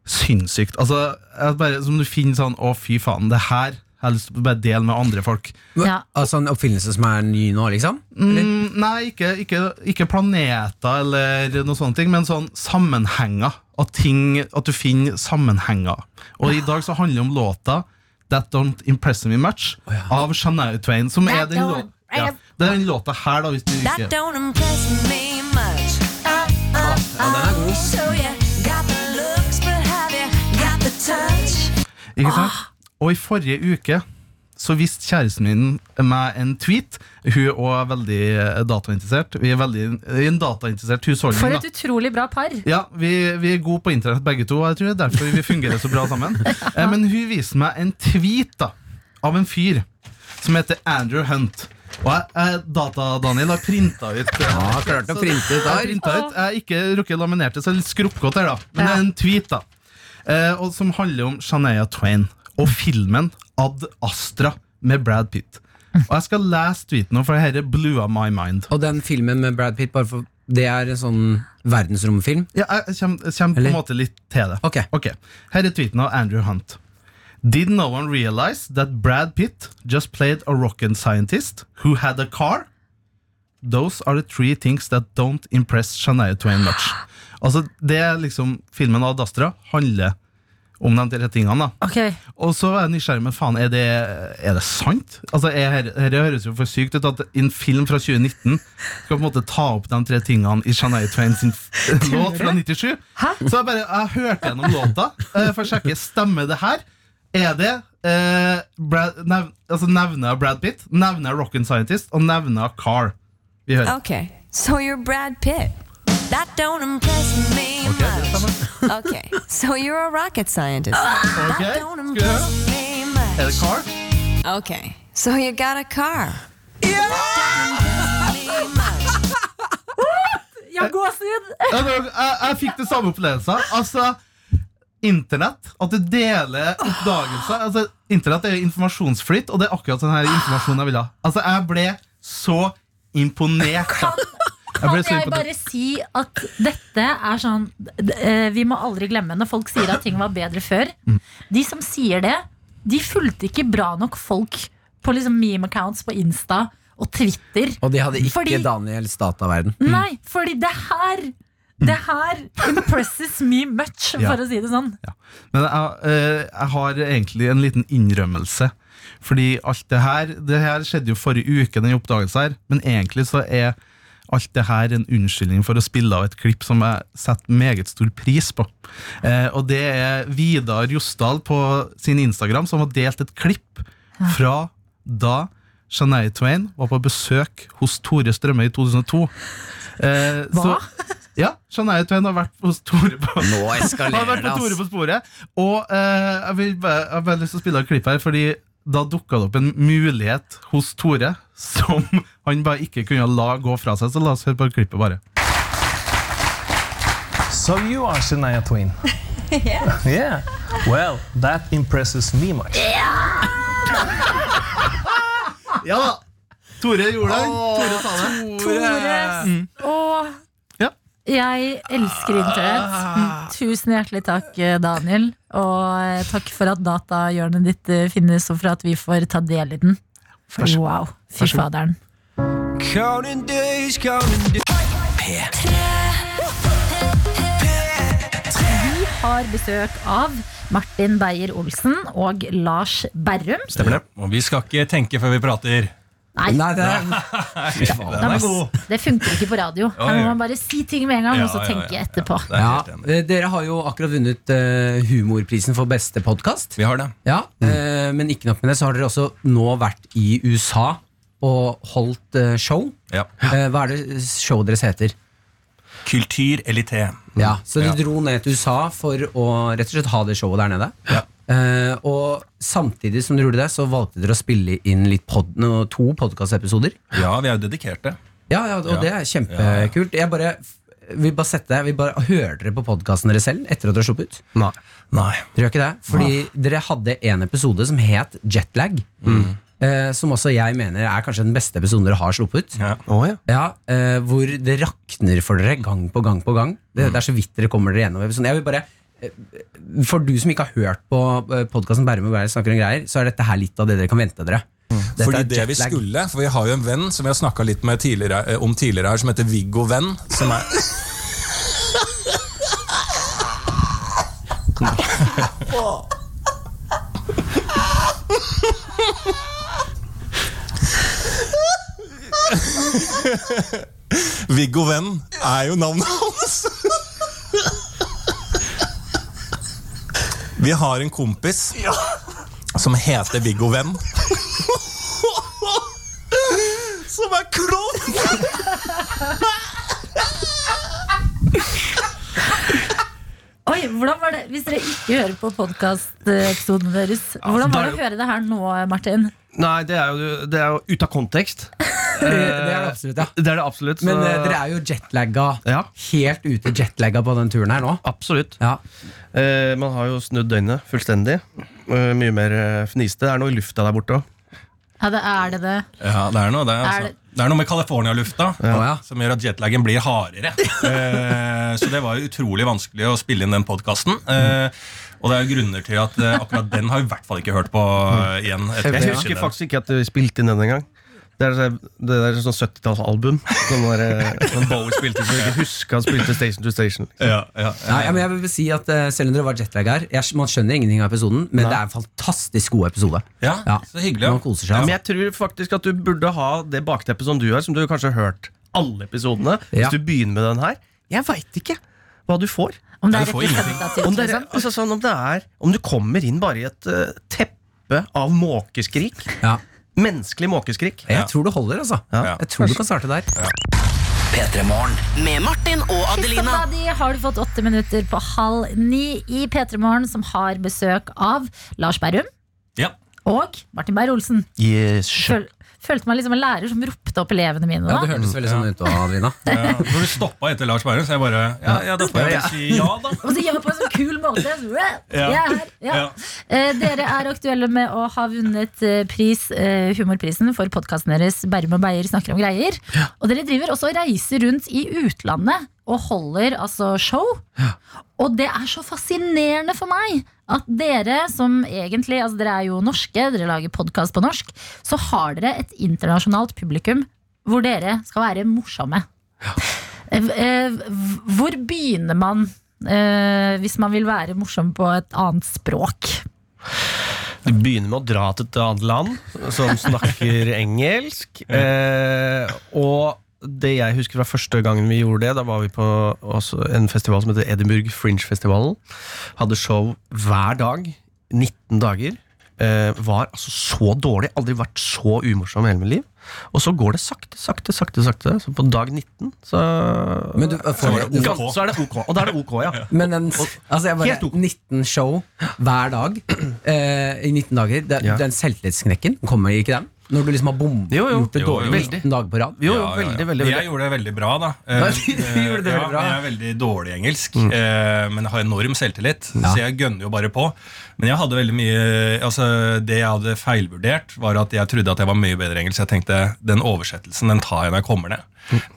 Speaker 5: sinnssykt. Altså, jeg bare, som du finner sånn Å, fy faen, det her har jeg lyst til å bare dele med andre folk.
Speaker 3: Ja.
Speaker 4: Altså en oppfinnelse som er ny nå, liksom?
Speaker 5: Mm, nei, ikke, ikke, ikke planeter eller noe sånne ting, men sånn sammenhenger. At, ting, at du finner sammenhenger. Og i dag så handler det om låta That Don't Impress Me Much av Shania Twain. Som er
Speaker 3: That
Speaker 5: den, lå
Speaker 3: don't-
Speaker 5: ja, det er den låta her, da, hvis du
Speaker 7: That
Speaker 5: ikke
Speaker 7: don't impress me much. Uh, So you got the looks, but have you got the touch?
Speaker 5: Ikke sant?
Speaker 3: Ah.
Speaker 5: Og i forrige uke så viste kjæresten min meg en tweet. Hun er også veldig eh, datainteressert. Vi er veldig i en datainteressert husholdning.
Speaker 3: For
Speaker 5: da.
Speaker 3: et utrolig bra par.
Speaker 5: Ja, vi, vi er gode på internett begge to, og jeg tror det er derfor vi fungerer så bra sammen. Eh, Men hun viste meg en tweet da, av en fyr som heter Andrew Hunt. Og jeg, jeg, Data-Daniel har printa ut. eh,
Speaker 4: Ja, klarte å printe ut
Speaker 5: jeg har
Speaker 4: der.
Speaker 5: printa ut. Jeg har ikke rukket laminert det, så jeg er litt skrukkete her, da. Men det
Speaker 3: Ja.
Speaker 5: er en tweet, da. Eh, og som handler om Shania Twain og filmen Ad Astra med Brad Pitt. Og jeg skal lese tweeten nå, for dette blua my mind.
Speaker 4: Og den filmen med Brad Pitt, bare for, det er en sånn verdensromfilm?
Speaker 5: Ja, jeg kommer, kommer på
Speaker 4: Eller?
Speaker 5: en måte litt til det.
Speaker 4: Ok.
Speaker 5: Her er tweeten av Andrew Hunt. Did no one realize that Brad Pitt just played a rocket scientist who had a car? Those are the three things that don't impress Shania Twain much. Altså, det er liksom Filmen av Dastra handler om de tre tingene. da
Speaker 3: Ok.
Speaker 5: og så er jeg nysgjerrig, men faen, er det, er det sant? Altså, er, her, her høres jo for sykt ut at en film fra 2019 skal på en måte ta opp de tre tingene i Shania Twain sin f- låt fra 97. Så jeg bare, jeg hørte gjennom låta eh, for å sjekke, stemmer det her? Er det eh, Brad, nev, altså, Nevner jeg Brad Pitt, nevner jeg Rock and Scientist, og nevner jeg Carr. Vi hører.
Speaker 7: Okay, so you're Brad Pitt. That don't impress me much. Okay, so you're a rocket scientist.
Speaker 5: Ok, skal
Speaker 7: That don't
Speaker 5: vi høre?
Speaker 7: impress me
Speaker 5: Er
Speaker 7: much.
Speaker 5: det Carr?
Speaker 7: Okay, so you got a car.
Speaker 3: Ja, gåsehud!
Speaker 5: Ja, men jeg, jeg fikk det samme opplevelsen. Altså, internett, at du deler oppdagelser altså, Internett er jo informasjonsflyt, og det er akkurat sånn her informasjon jeg ville ha. Altså, jeg ble så imponert. da.
Speaker 3: Kan
Speaker 5: Jeg ble så
Speaker 3: jeg
Speaker 5: imponert.
Speaker 3: bare si at dette er sånn d- eh, Vi må aldri glemme når folk sier at ting var bedre før.
Speaker 5: Mm.
Speaker 3: De som sier det, de fulgte ikke bra nok folk på liksom meme accounts på Insta og Twitter.
Speaker 4: Og de hadde ikke
Speaker 3: Fordi-
Speaker 4: Daniels dataverden.
Speaker 5: Mm.
Speaker 3: Nei, fordi det her Det her impresses me much,
Speaker 5: Ja.
Speaker 3: for å si det sånn.
Speaker 5: Men jeg, eh, jeg har egentlig en liten innrømmelse. Fordi alt det her Det her skjedde jo forrige uke, den oppdagelsen her. Men egentlig så er alt det her en unnskyldning for å spille av et klipp som jeg setter meget stor pris på. Eh, og det er Vidar Josdal på sin Instagram som har delt et klipp fra da Shania Twain var på besøk hos Tore Strømme i 2002. Eh,
Speaker 3: Hva?
Speaker 5: ja, Shania Twain har vært hos Tore på
Speaker 4: Nå
Speaker 5: han har
Speaker 4: eskalerer
Speaker 5: vært
Speaker 4: det,
Speaker 5: på Tore
Speaker 4: ass.
Speaker 5: på sporet. Og eh, jeg, vil bare, jeg har bare lyst til å spille et klipp her, Fordi da dukka det opp en mulighet hos Tore som han bare ikke kunne la gå fra seg. Så la oss høre på klippet, bare.
Speaker 8: So you are Shania Twain. yeah. yeah. Well, that impresses me much.
Speaker 5: Ja da! Tore gjorde det. Tore sa det.
Speaker 3: Tore og
Speaker 5: Ja.
Speaker 3: jeg elsker internett. Tusen hjertelig takk, eh, Daniel. Og eh, takk for at datahjørnet ditt eh, finnes, og for at vi får ta del i den. For wow, fy faderen.
Speaker 6: Counting days, counting days.
Speaker 7: P3.
Speaker 3: Vi har besøk av Martin Beyer-Olsen og Lars Berrum.
Speaker 9: Og vi skal ikke tenke før vi prater.
Speaker 3: Nei,
Speaker 4: Nei, det er,
Speaker 3: da må- det funker ikke på radio. Her må
Speaker 9: ja.
Speaker 3: man bare si ting med en gang, og
Speaker 9: Ja,
Speaker 3: så
Speaker 9: ja,
Speaker 3: tenke
Speaker 9: ja, ja.
Speaker 3: etterpå.
Speaker 9: Det er
Speaker 4: ja,
Speaker 9: helt enig.
Speaker 4: eh, dere har jo akkurat vunnet eh, humorprisen for beste podkast.
Speaker 9: Vi har det. Mm.
Speaker 4: Ja, eh, men ikke nok med det, så har dere også nå vært i USA og holdt eh, show.
Speaker 9: Ja.
Speaker 4: Eh, hva er det showet deres heter?
Speaker 9: Kultur elité.
Speaker 4: Ja, Så du
Speaker 9: Mm. Ja.
Speaker 4: dro ned til USA for å rett og slett ha det showet der nede. Eh, og samtidig som du gjorde det, så valgte dere å spille inn litt pod no, to podkastepisoder.
Speaker 9: Ja, vi er jo dedikerte.
Speaker 4: Ja, ja, og
Speaker 9: Ja.
Speaker 4: det er kjempekult. Jeg bare vil bare sette Vi bare hører dere på podkasten dere selv etter at dere har sluppet ut? Nei.
Speaker 9: Nei.
Speaker 4: Dere gjør ikke det? Fordi
Speaker 10: Ah.
Speaker 4: dere hadde en episode som het Jetlag.
Speaker 10: Mm.
Speaker 4: Eh, som også jeg mener er kanskje den beste episoden dere har sluppet.
Speaker 9: Ja.
Speaker 4: Ja, eh, Hvor det rakner for dere gang på gang på gang. Det,
Speaker 10: Mm.
Speaker 4: det er så vidt dere kommer dere gjennom episoden. Jeg vil bare eh, for du som ikke har hørt på podkasten Bærum og Bærum snakker om greier, så er dette her litt av det dere kan vente dere.
Speaker 10: Mm.
Speaker 4: Dette
Speaker 10: Fordi
Speaker 4: er
Speaker 10: det vi
Speaker 4: jetlag.
Speaker 10: skulle, for vi har jo en venn som vi har snakka litt med tidligere, eh, om tidligere her, som heter Viggo Venn. Som er Viggo Venn er jo navnet hans! Vi har en kompis som heter Viggo Venn. Som er klovn!
Speaker 3: Oi, hvordan var det, Hvis dere ikke hører på podkastepisoden deres,
Speaker 9: altså,
Speaker 3: hvordan var det å høre det her nå, Martin?
Speaker 5: Nei, det er jo, det er jo ut av kontekst.
Speaker 4: Det det er det absolutt, ja.
Speaker 5: Det er det absolutt.
Speaker 4: Men eh, dere er jo jetlagga.
Speaker 5: Ja.
Speaker 4: Helt ute jetlagga på den turen her nå.
Speaker 5: Absolutt.
Speaker 4: Ja.
Speaker 5: Eh, man har jo snudd døgnet fullstendig. Eh, mye mer eh, fniste. Det er noe i lufta der borte òg.
Speaker 3: Ja, det er det det.
Speaker 9: Ja, det er noe, det,
Speaker 3: Er
Speaker 9: altså.
Speaker 3: det-
Speaker 9: det er noe med California-lufta
Speaker 4: Å, ja.
Speaker 9: som gjør at jetlaggen blir hardere. Eh, så det var jo utrolig vanskelig å spille inn den podkasten. Eh, og det er jo grunner til at eh, akkurat den har vi i hvert fall ikke hørt på eh, igjen.
Speaker 5: Jeg
Speaker 9: etter vi
Speaker 5: husker
Speaker 9: kjenner den.
Speaker 5: faktisk ikke at vi spilte inn den engang. Det er, så- det er sånn 70-tallsalbum. Som bare-
Speaker 9: Men Bowie spilte
Speaker 5: som jeg
Speaker 9: ikke.
Speaker 5: ikke husker han spilte Station to Station.
Speaker 9: Ja, ja, ja.
Speaker 4: Nei, ja, men jeg vil si at eh, Selv om dere var jetlagga her, jeg, man skjønner ingenting av episoden, men det er en fantastisk god episode.
Speaker 9: Ja, så hyggelig, ja.
Speaker 4: Man koser seg.
Speaker 5: Men jeg tror faktisk at du burde ha det bakteppet som du har, som du kanskje har hørt alle episodene.
Speaker 4: Ja.
Speaker 5: Hvis du begynner med den her. Jeg veit ikke hva du får.
Speaker 3: Om det er
Speaker 9: du får
Speaker 3: representativt,
Speaker 5: Om, det er,
Speaker 3: liksom.
Speaker 5: altså sånn, om, det er, om du kommer inn bare i et eh, teppe av måkeskrik
Speaker 4: Ja.
Speaker 5: Menneskelig måkeskrik.
Speaker 4: Jeg tror det holder, altså.
Speaker 5: Ja.
Speaker 4: Jeg tror du kan starte der.
Speaker 1: Med Martin og Adelina.
Speaker 3: Kista di har du fått åtte minutter på halv ni i P3 Morgen, som har besøk av Lars Berrum
Speaker 9: Ja.
Speaker 3: og Martin Beyer-Olsen.
Speaker 5: Yes.
Speaker 3: Føl, følte meg litt som en lærer som ropte opp elevene mine.
Speaker 4: Ja,
Speaker 3: nå.
Speaker 4: Det hørtes veldig sånn ut, Adelina.
Speaker 9: Ja, for du stoppa etter Lars Bærum, så jeg bare Ja, ja da får jeg vel si ja, da.
Speaker 3: Og så gjør jeg på en sånn kul måte. Så,
Speaker 9: Ja.
Speaker 3: Jeg er her, ja.
Speaker 9: Ja.
Speaker 3: Eh, Dere er aktuelle med å ha vunnet eh, pris, eh, humorprisen for podkasten deres Berrum og Beyer snakker om greier. Og dere driver også og reiser rundt i utlandet og holder altså show. Og det er så fascinerende for meg at dere som egentlig altså Dere er jo norske, dere lager podkast på norsk. Så har dere et internasjonalt publikum hvor dere skal være morsomme. Eh, eh, v- Hvor begynner man eh, hvis man vil være morsom på et annet språk?
Speaker 5: Du begynner med å dra til et annet land som snakker engelsk. Eh, og det jeg husker fra første gangen vi gjorde det, da var vi på også en festival som heter Edinburgh Fringe-festivalen. Hadde show hver dag. 19 dager. Eh, var altså så dårlig. Aldri vært så umorsom i hele mitt liv. Og så går det sakte, sakte, sakte. sakte Så på dag 19 så,
Speaker 4: Men, du,
Speaker 9: Så var det
Speaker 4: for,
Speaker 9: OK.
Speaker 5: Gans- så er det ok. Og da er det ok, ja.
Speaker 4: men den, altså jeg
Speaker 5: Helt
Speaker 4: bare,
Speaker 5: ok.
Speaker 4: 19 show hver dag eh, i 19 dager. Det,
Speaker 5: Ja.
Speaker 4: Den selvtillitsknekken kommer ikke den? Når du liksom har bom,
Speaker 5: Jo, jo.
Speaker 4: gjort det
Speaker 9: Jo, jo.
Speaker 4: dårlig 19 dager på rad?
Speaker 5: Jo,
Speaker 9: Ja, ja, ja.
Speaker 5: veldig, veldig,
Speaker 9: Jeg
Speaker 5: veldig.
Speaker 9: gjorde det veldig bra, da. Eh,
Speaker 4: Ja, du gjorde det
Speaker 9: eh,
Speaker 4: veldig bra. Mm.
Speaker 9: Jeg er veldig dårlig i engelsk, eh, men jeg har enorm selvtillit, så jeg gønner jo bare på. Men jeg hadde veldig mye altså, Det jeg hadde feilvurdert, var at jeg trodde at jeg var mye bedre i engelsk. Jeg tenkte den oversettelsen den tar jeg når jeg kommer ned.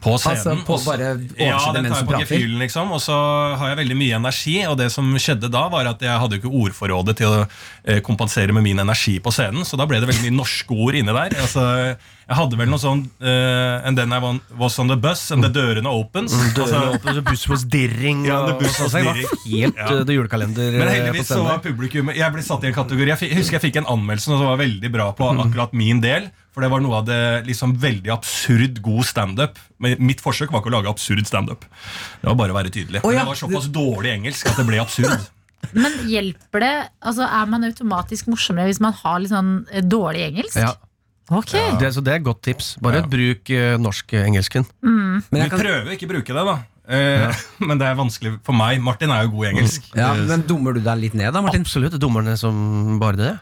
Speaker 9: på scenen.
Speaker 4: Altså, på
Speaker 9: og så-
Speaker 4: bare
Speaker 9: ja,
Speaker 4: oversette
Speaker 9: den
Speaker 4: mens
Speaker 9: tar
Speaker 4: du
Speaker 9: jeg på
Speaker 4: prater.
Speaker 9: gefühlen, liksom. Og så har jeg veldig mye energi, og det som skjedde da, var at jeg hadde jo ikke ordforrådet til å eh, kompensere med min energi på scenen, så da ble det veldig mye norske ord inni der. Altså, jeg hadde vel noe sånn eh, And then I wan- was on the bus, and the dørene opens.
Speaker 11: Mm, dørene
Speaker 9: Altså-
Speaker 11: åpnes, og buss was dirring.
Speaker 9: Ja,
Speaker 11: og-
Speaker 9: det buss
Speaker 11: og sånn,
Speaker 9: was
Speaker 11: det var
Speaker 9: dirring.
Speaker 11: helt
Speaker 9: Ja.
Speaker 11: eh, det julekalender.
Speaker 9: Men
Speaker 11: eh,
Speaker 9: heldigvis
Speaker 11: på
Speaker 9: så
Speaker 11: scenen
Speaker 9: var
Speaker 11: der.
Speaker 9: publikum Jeg ble satt i en kategori. Jeg fi- husker jeg fikk en anmeldelse som var veldig bra på
Speaker 11: Mm.
Speaker 9: akkurat min del. For det var noe av det liksom veldig absurd god standup. Men mitt forsøk var ikke å lage absurd standup. Det var bare å være tydelig. Men det var såpass dårlig engelsk at det ble absurd.
Speaker 3: Men hjelper det? Altså, er man automatisk morsommere hvis man har litt sånn eh, dårlig engelsk?
Speaker 11: Ja.
Speaker 3: Ok.
Speaker 11: Det, så det er et godt tips. Bare bruk eh, norsk-engelsken.
Speaker 3: Mm.
Speaker 9: Vi prøver ikke å bruke det, da. Eh, Men det er vanskelig for meg. Martin er jo god i engelsk.
Speaker 11: Ja, men
Speaker 4: dummer du deg litt ned, da, Martin?
Speaker 11: Absolutt. Dummer ned som bare det.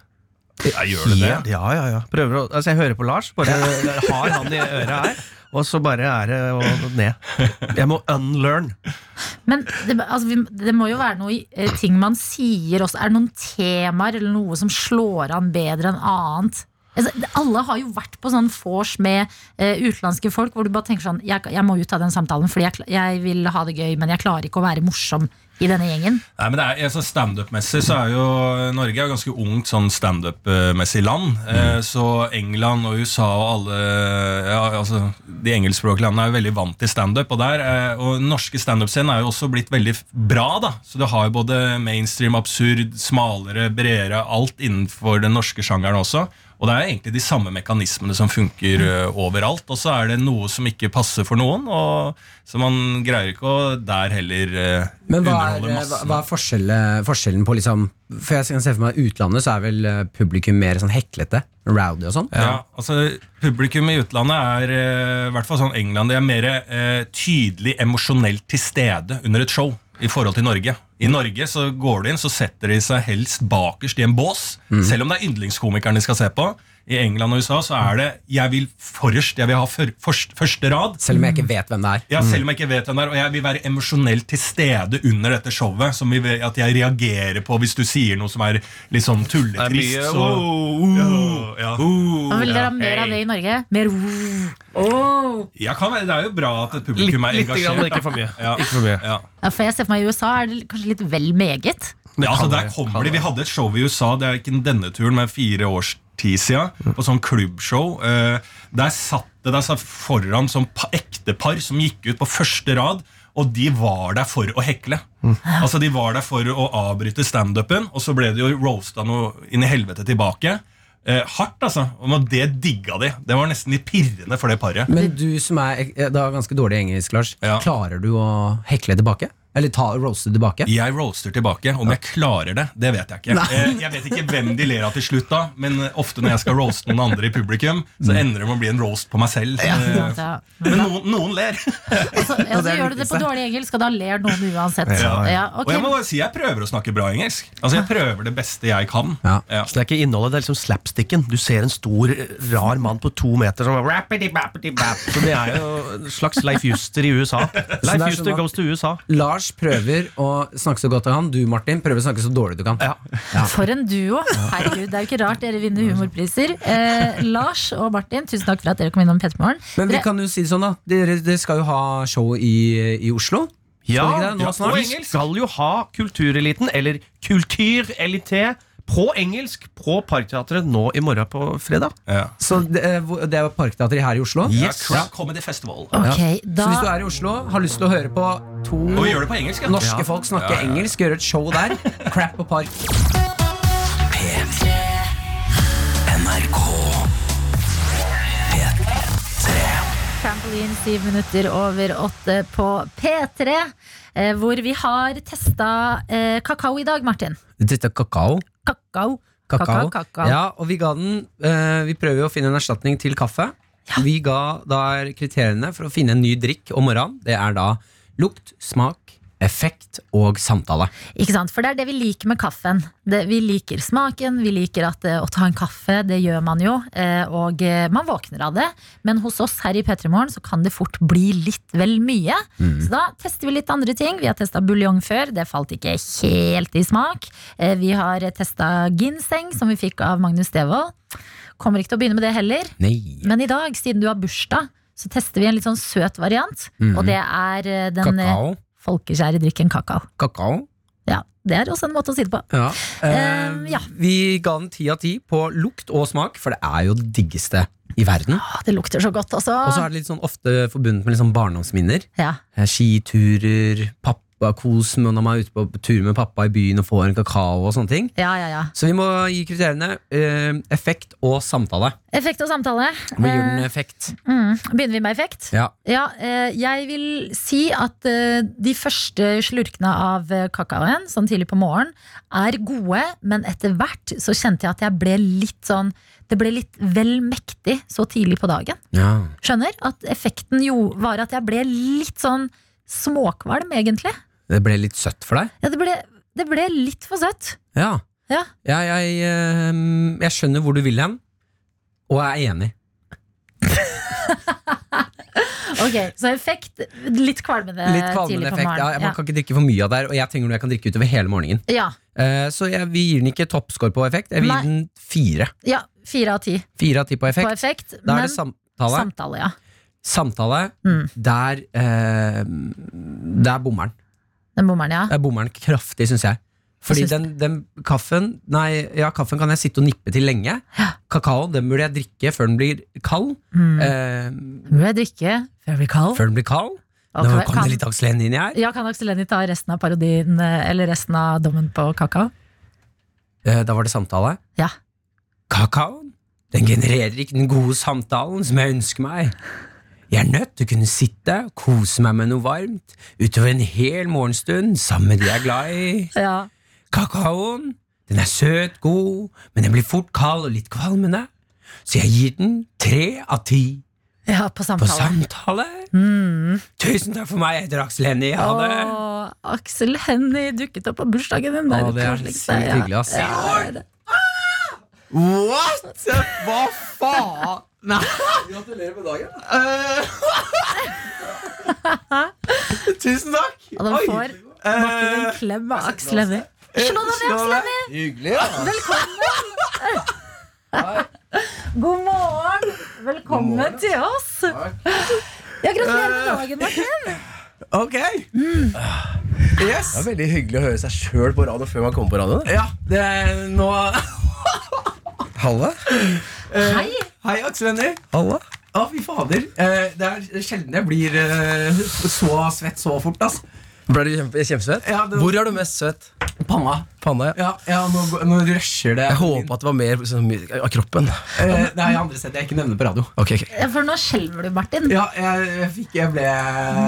Speaker 9: Ja, gjør det det?
Speaker 11: Ja, ja, ja. Prøver å, altså, jeg hører på Lars, bare har han i øret her, og så bare er det å- ned. Jeg må unlearn.
Speaker 3: Men det, altså, vi, det må jo være noe i, eh, ting man sier også. Er det noen temaer eller noe som slår an bedre enn annet? Altså, det- alle har jo vært på sånn vors med eh, utenlandske folk hvor du bare tenker sånn Jeg, jeg må ut av den samtalen, fordi jeg, kla- jeg vil ha det gøy, men jeg klarer ikke å være morsom i denne gjengen.
Speaker 9: Nei, men det er, altså Standup-messig så er jo Norge er jo ganske ungt sånn standup-messig land.
Speaker 4: Mm.
Speaker 9: Eh, så England og USA og alle ja, altså, De engelskspråklige landene er jo veldig vant til standup. Og der, eh, og den norske standup-scenen er jo også blitt veldig f- bra. da Så det har jo både mainstream, absurd, smalere, bredere, alt innenfor den norske sjangeren også. Og det er egentlig de samme mekanismene som
Speaker 4: Mm.
Speaker 9: funker eh, overalt. Og så er det noe som ikke passer for noen, og så man greier ikke å der heller eh,
Speaker 4: Men hva er,
Speaker 9: underholde
Speaker 4: hva,
Speaker 9: massene.
Speaker 4: hva er forskjellen, forskjellen på liksom For jeg kan se for meg utlandet så er vel eh, publikum mer sånn heklete, rowdy og sånn.
Speaker 9: Ja. altså Publikum i utlandet er eh, i hvert fall sånn England, de er mer eh, tydelig emosjonelt til stede under et show i forhold til Norge. I Norge så går de inn, så setter de seg helst bakerst i en bås, selv om det er yndlingskomikeren de skal se på. I England og USA så er det 'jeg vil forrest', jeg vil ha for, først- første rad.
Speaker 4: Selv om jeg ikke vet hvem det er.
Speaker 11: Mm.
Speaker 9: Ja, selv om jeg ikke vet hvem det er, og jeg vil være emosjonelt til stede under dette showet, som vi vet at jeg reagerer på hvis du sier noe som er litt sånn tulletrist.
Speaker 11: Det er mye,
Speaker 9: så, ja, ja.
Speaker 3: Hva vil dere ha mer av det i Norge? Mer oh.
Speaker 9: Ja, kan være. Det er jo bra at et publikum er
Speaker 11: Litt- lite
Speaker 9: engasjert.
Speaker 11: grann, men
Speaker 9: da.
Speaker 11: ikke for mye.
Speaker 9: Ja.
Speaker 11: Ikke for mye.
Speaker 9: Ja.
Speaker 3: ja, For jeg ser for meg i USA er det kanskje litt vel meget.
Speaker 9: Ja, altså, der kommer de. Vi hadde et show i USA, det er ikke denne turen, men fire års tid siden, på sånn klubbshow. Eh, Der satt det der satt foran sånn pa- ektepar som gikk ut på første rad, og de var der for å hekle. Altså, de var der for å avbryte standupen, og så ble det jo roasta noe inn i helvete tilbake. Eh, hardt, altså. Og det digga de. Det var nesten litt pirrende for det paret.
Speaker 4: Men du som er eh, da ganske dårlig i engelsk, Lars. Klarer du å hekle tilbake? Eller ta roaste tilbake?
Speaker 9: Jeg roaster tilbake. Om jeg klarer det, det vet jeg ikke.
Speaker 4: Nei.
Speaker 9: Eh, Jeg vet ikke hvem de ler av til slutt, da men eh, ofte når jeg skal roaste noen andre i publikum,
Speaker 4: Mm.
Speaker 9: så ender det med å bli en roast på meg selv. Eh,
Speaker 3: Ja.
Speaker 9: Men noen, noen ler.
Speaker 3: Ja, så altså, gjør du det på dårlig engelsk, og da ler noen uansett.
Speaker 9: Ja.
Speaker 3: Ja, ok.
Speaker 9: Og jeg må bare si jeg prøver å snakke bra engelsk. Altså Jeg prøver det beste jeg kan.
Speaker 11: Så det er ikke innholdet, det er liksom slapsticken. Du ser en stor, rar mann på to meter som bare rappity, bappity, bap. Så det er jo en slags Leif Juster i USA.
Speaker 4: Så det
Speaker 11: Leif
Speaker 4: er
Speaker 11: Juster
Speaker 4: sånn at-
Speaker 11: goes to USA.
Speaker 4: Lars prøver å snakke så godt han kan. Du, Martin, prøver å snakke så dårlig du kan. Ja.
Speaker 3: For en duo! Herregud, Det er jo ikke rart dere vinner humorpriser. Eh, Lars og Martin, tusen takk for at dere kom innom P3 Morgen.
Speaker 4: Men vi
Speaker 3: Dere-
Speaker 4: kan jo si det sånn, da. Dere, dere skal jo ha show i, i Oslo. Skal
Speaker 11: Ja,
Speaker 4: dere ikke det? Nå
Speaker 11: ja,
Speaker 4: snart?
Speaker 11: vi skal jo ha Kultureliten, eller Kulturelité, på engelsk på Parkteatret nå i morgen på fredag.
Speaker 4: Så det, eh, hvor- det er Parkteatret her i Oslo?
Speaker 11: Yes.
Speaker 9: Ja, Comedy Festival.
Speaker 4: Ja.
Speaker 3: da-
Speaker 4: Så hvis du er i Oslo, har lyst til å høre på to
Speaker 9: Og gjør det på engelsk, ja.
Speaker 4: norske
Speaker 9: Ja.
Speaker 4: folk snakke
Speaker 9: Ja, ja, ja.
Speaker 4: engelsk, gjøre et show der, crap på park
Speaker 3: Trampoline, syv minutter over åtte på P3, eh, hvor vi har testa eh, kakao i dag, Martin.
Speaker 4: Dette er kakao.
Speaker 3: Kakao.
Speaker 4: kakao.
Speaker 3: Kakao, kakao.
Speaker 4: Ja, og vi ga den eh, Vi prøver jo å finne en erstatning til kaffe. Vi ga da er kriteriene for å finne en ny drikk om morgenen. Det er da lukt, smak, effekt og samtale.
Speaker 3: Ikke sant? For det er det vi liker med kaffen. Det, vi liker smaken, vi liker at eh, å ta en kaffe, det gjør man jo, eh, og eh, man våkner av det. Men hos oss her i Petremorgen så kan det fort bli litt vel mye.
Speaker 12: Mm.
Speaker 3: Så da tester vi litt andre ting. Vi har testa buljong før, det falt ikke helt i smak. Eh, Vi har testa ginseng, som vi fikk av Magnus Devold. Kommer ikke til å begynne med det heller.
Speaker 4: Nei.
Speaker 3: Men i dag, siden du har bursdag, så tester vi en litt sånn søt variant.
Speaker 4: Mhm.
Speaker 3: Og det er eh, den eh,
Speaker 4: Kakao?
Speaker 3: folkekjære drikken kakao.
Speaker 4: Kakao?
Speaker 3: Ja, Det er også en måte å si det på.
Speaker 4: Ja. Eh,
Speaker 3: Ehm, ja.
Speaker 4: Vi ga den ti av ti på lukt og smak, for det er jo det diggeste i verden.
Speaker 3: Ah, Det lukter så godt, altså.
Speaker 4: Og så er det litt sånn ofte forbundet med litt sånn barndomsminner.
Speaker 3: Ja.
Speaker 4: Eh, Skiturer, pappakos med- når man er ute på tur med pappa i byen og får en kakao og sånne ting.
Speaker 3: Ja, ja, ja.
Speaker 4: Så vi må gi kriteriene eh, effekt og samtale.
Speaker 3: Effekt og samtale.
Speaker 4: Vi gir den
Speaker 3: Eh,
Speaker 4: effekt.
Speaker 3: mm. Begynner vi med effekt?
Speaker 4: Ja.
Speaker 3: eh, jeg vil si at eh, de første slurkene av eh, kakaoen, sånn tidlig på morgenen, er gode, men etter hvert så kjente jeg at jeg ble litt sånn Det ble litt vel mektig så tidlig på dagen.
Speaker 4: Ja.
Speaker 3: Skjønner? At effekten jo var at jeg ble litt sånn småkvalm, egentlig.
Speaker 4: Det ble litt søtt for deg?
Speaker 3: Ja, det ble, det ble litt for søtt.
Speaker 4: Ja.
Speaker 3: Ja.
Speaker 4: Ja, jeg, eh, jeg skjønner hvor du vil hen, og jeg er enig.
Speaker 3: Ok, Så effekt litt kvalmende,
Speaker 4: Litt kvalmende
Speaker 3: Eh, tidlig på
Speaker 4: effekt. Ja,
Speaker 3: morgenen.
Speaker 4: man kan ikke drikke for mye av det her, og jeg trenger noe jeg kan drikke utover hele morgenen.
Speaker 3: ja.
Speaker 4: Eh, Så jeg, vi gir den ikke toppscore på effekt. Jeg vil
Speaker 3: Nei.
Speaker 4: gi den fire.
Speaker 3: ja, fire av ti
Speaker 4: Fire av ti på
Speaker 3: på
Speaker 4: effekt.
Speaker 3: effekt.
Speaker 4: da
Speaker 3: men
Speaker 4: er det samtale.
Speaker 3: samtale, ja.
Speaker 4: samtale.
Speaker 3: Mm.
Speaker 4: Der eh, Der bommer den.
Speaker 3: Den bommeren, ja.
Speaker 4: Der bommer den kraftig, syns jeg. Fordi
Speaker 3: Jeg syns-
Speaker 4: den, den kaffen Nei, ja, kaffen kan jeg sitte og nippe til lenge. Kakao den burde jeg drikke før den blir kald.
Speaker 3: Mm.
Speaker 4: Eh,
Speaker 3: Burde jeg drikke før jeg blir kald?
Speaker 4: før den blir kald.
Speaker 3: Ok,
Speaker 4: Nå kom
Speaker 3: kan-
Speaker 4: det litt Aksel Hennie inn her.
Speaker 3: Ja, Kan Aksel Hennie ta resten av parodien eh, eller resten av dommen på kakao?
Speaker 4: Eh, Da var det samtale.
Speaker 3: Ja.
Speaker 4: Kakaoen den genererer ikke den gode samtalen som jeg ønsker meg. Jeg er nødt til å kunne sitte og kose meg med noe varmt utover en hel morgenstund sammen med de jeg er glad i.
Speaker 3: Ja.
Speaker 4: Kakaoen den er søt, god, men den blir fort kald og litt kvalmende. Så jeg gir den tre av ti
Speaker 3: ja, på
Speaker 4: på
Speaker 3: samtale.
Speaker 4: samtale.
Speaker 3: Mm.
Speaker 4: Tusen takk for meg, jeg heter Aksel Hennie. Ha det.
Speaker 3: Åh, Aksel Hennie dukket opp på bursdagen din.
Speaker 4: Åh, det er sykt hyggelig, ass.
Speaker 11: What?! Hva faen?! Nei. Gratulerer med dagen. Tusen takk.
Speaker 3: Og de får Martin en klem av Aksel Hennie. Slå deg ned, Aksel Hennie!
Speaker 11: Hyggelig, ja.
Speaker 3: Velkommen! God morgen! Velkommen til oss! Ja, gratulerer med dagen, Martin.
Speaker 11: Ok. Yes.
Speaker 12: Det er veldig hyggelig å høre seg sjøl på radio før man kommer på radioen.
Speaker 11: Ja, det er nå
Speaker 12: Halla.
Speaker 11: Hei. Hei, Aksel Hennie.
Speaker 12: Halla.
Speaker 11: Å, fy fader. Eh, det er sjelden jeg blir eh, så svett så fort, ass.
Speaker 12: Ble du kjempe, kjempesvett?
Speaker 11: Ja, det-
Speaker 12: Hvor er du mest svett?
Speaker 11: Panna.
Speaker 12: Panna, ja.
Speaker 11: Ja, ja nå, går- nå rusher det.
Speaker 12: Jeg håpa at det var mer sånn, my- av kroppen.
Speaker 11: Eh, det er i andre steder jeg ikke nevner på radio.
Speaker 12: Ok, ok
Speaker 3: Ja, For nå skjelver du, Martin.
Speaker 11: Ja, jeg, jeg fikk Jeg ble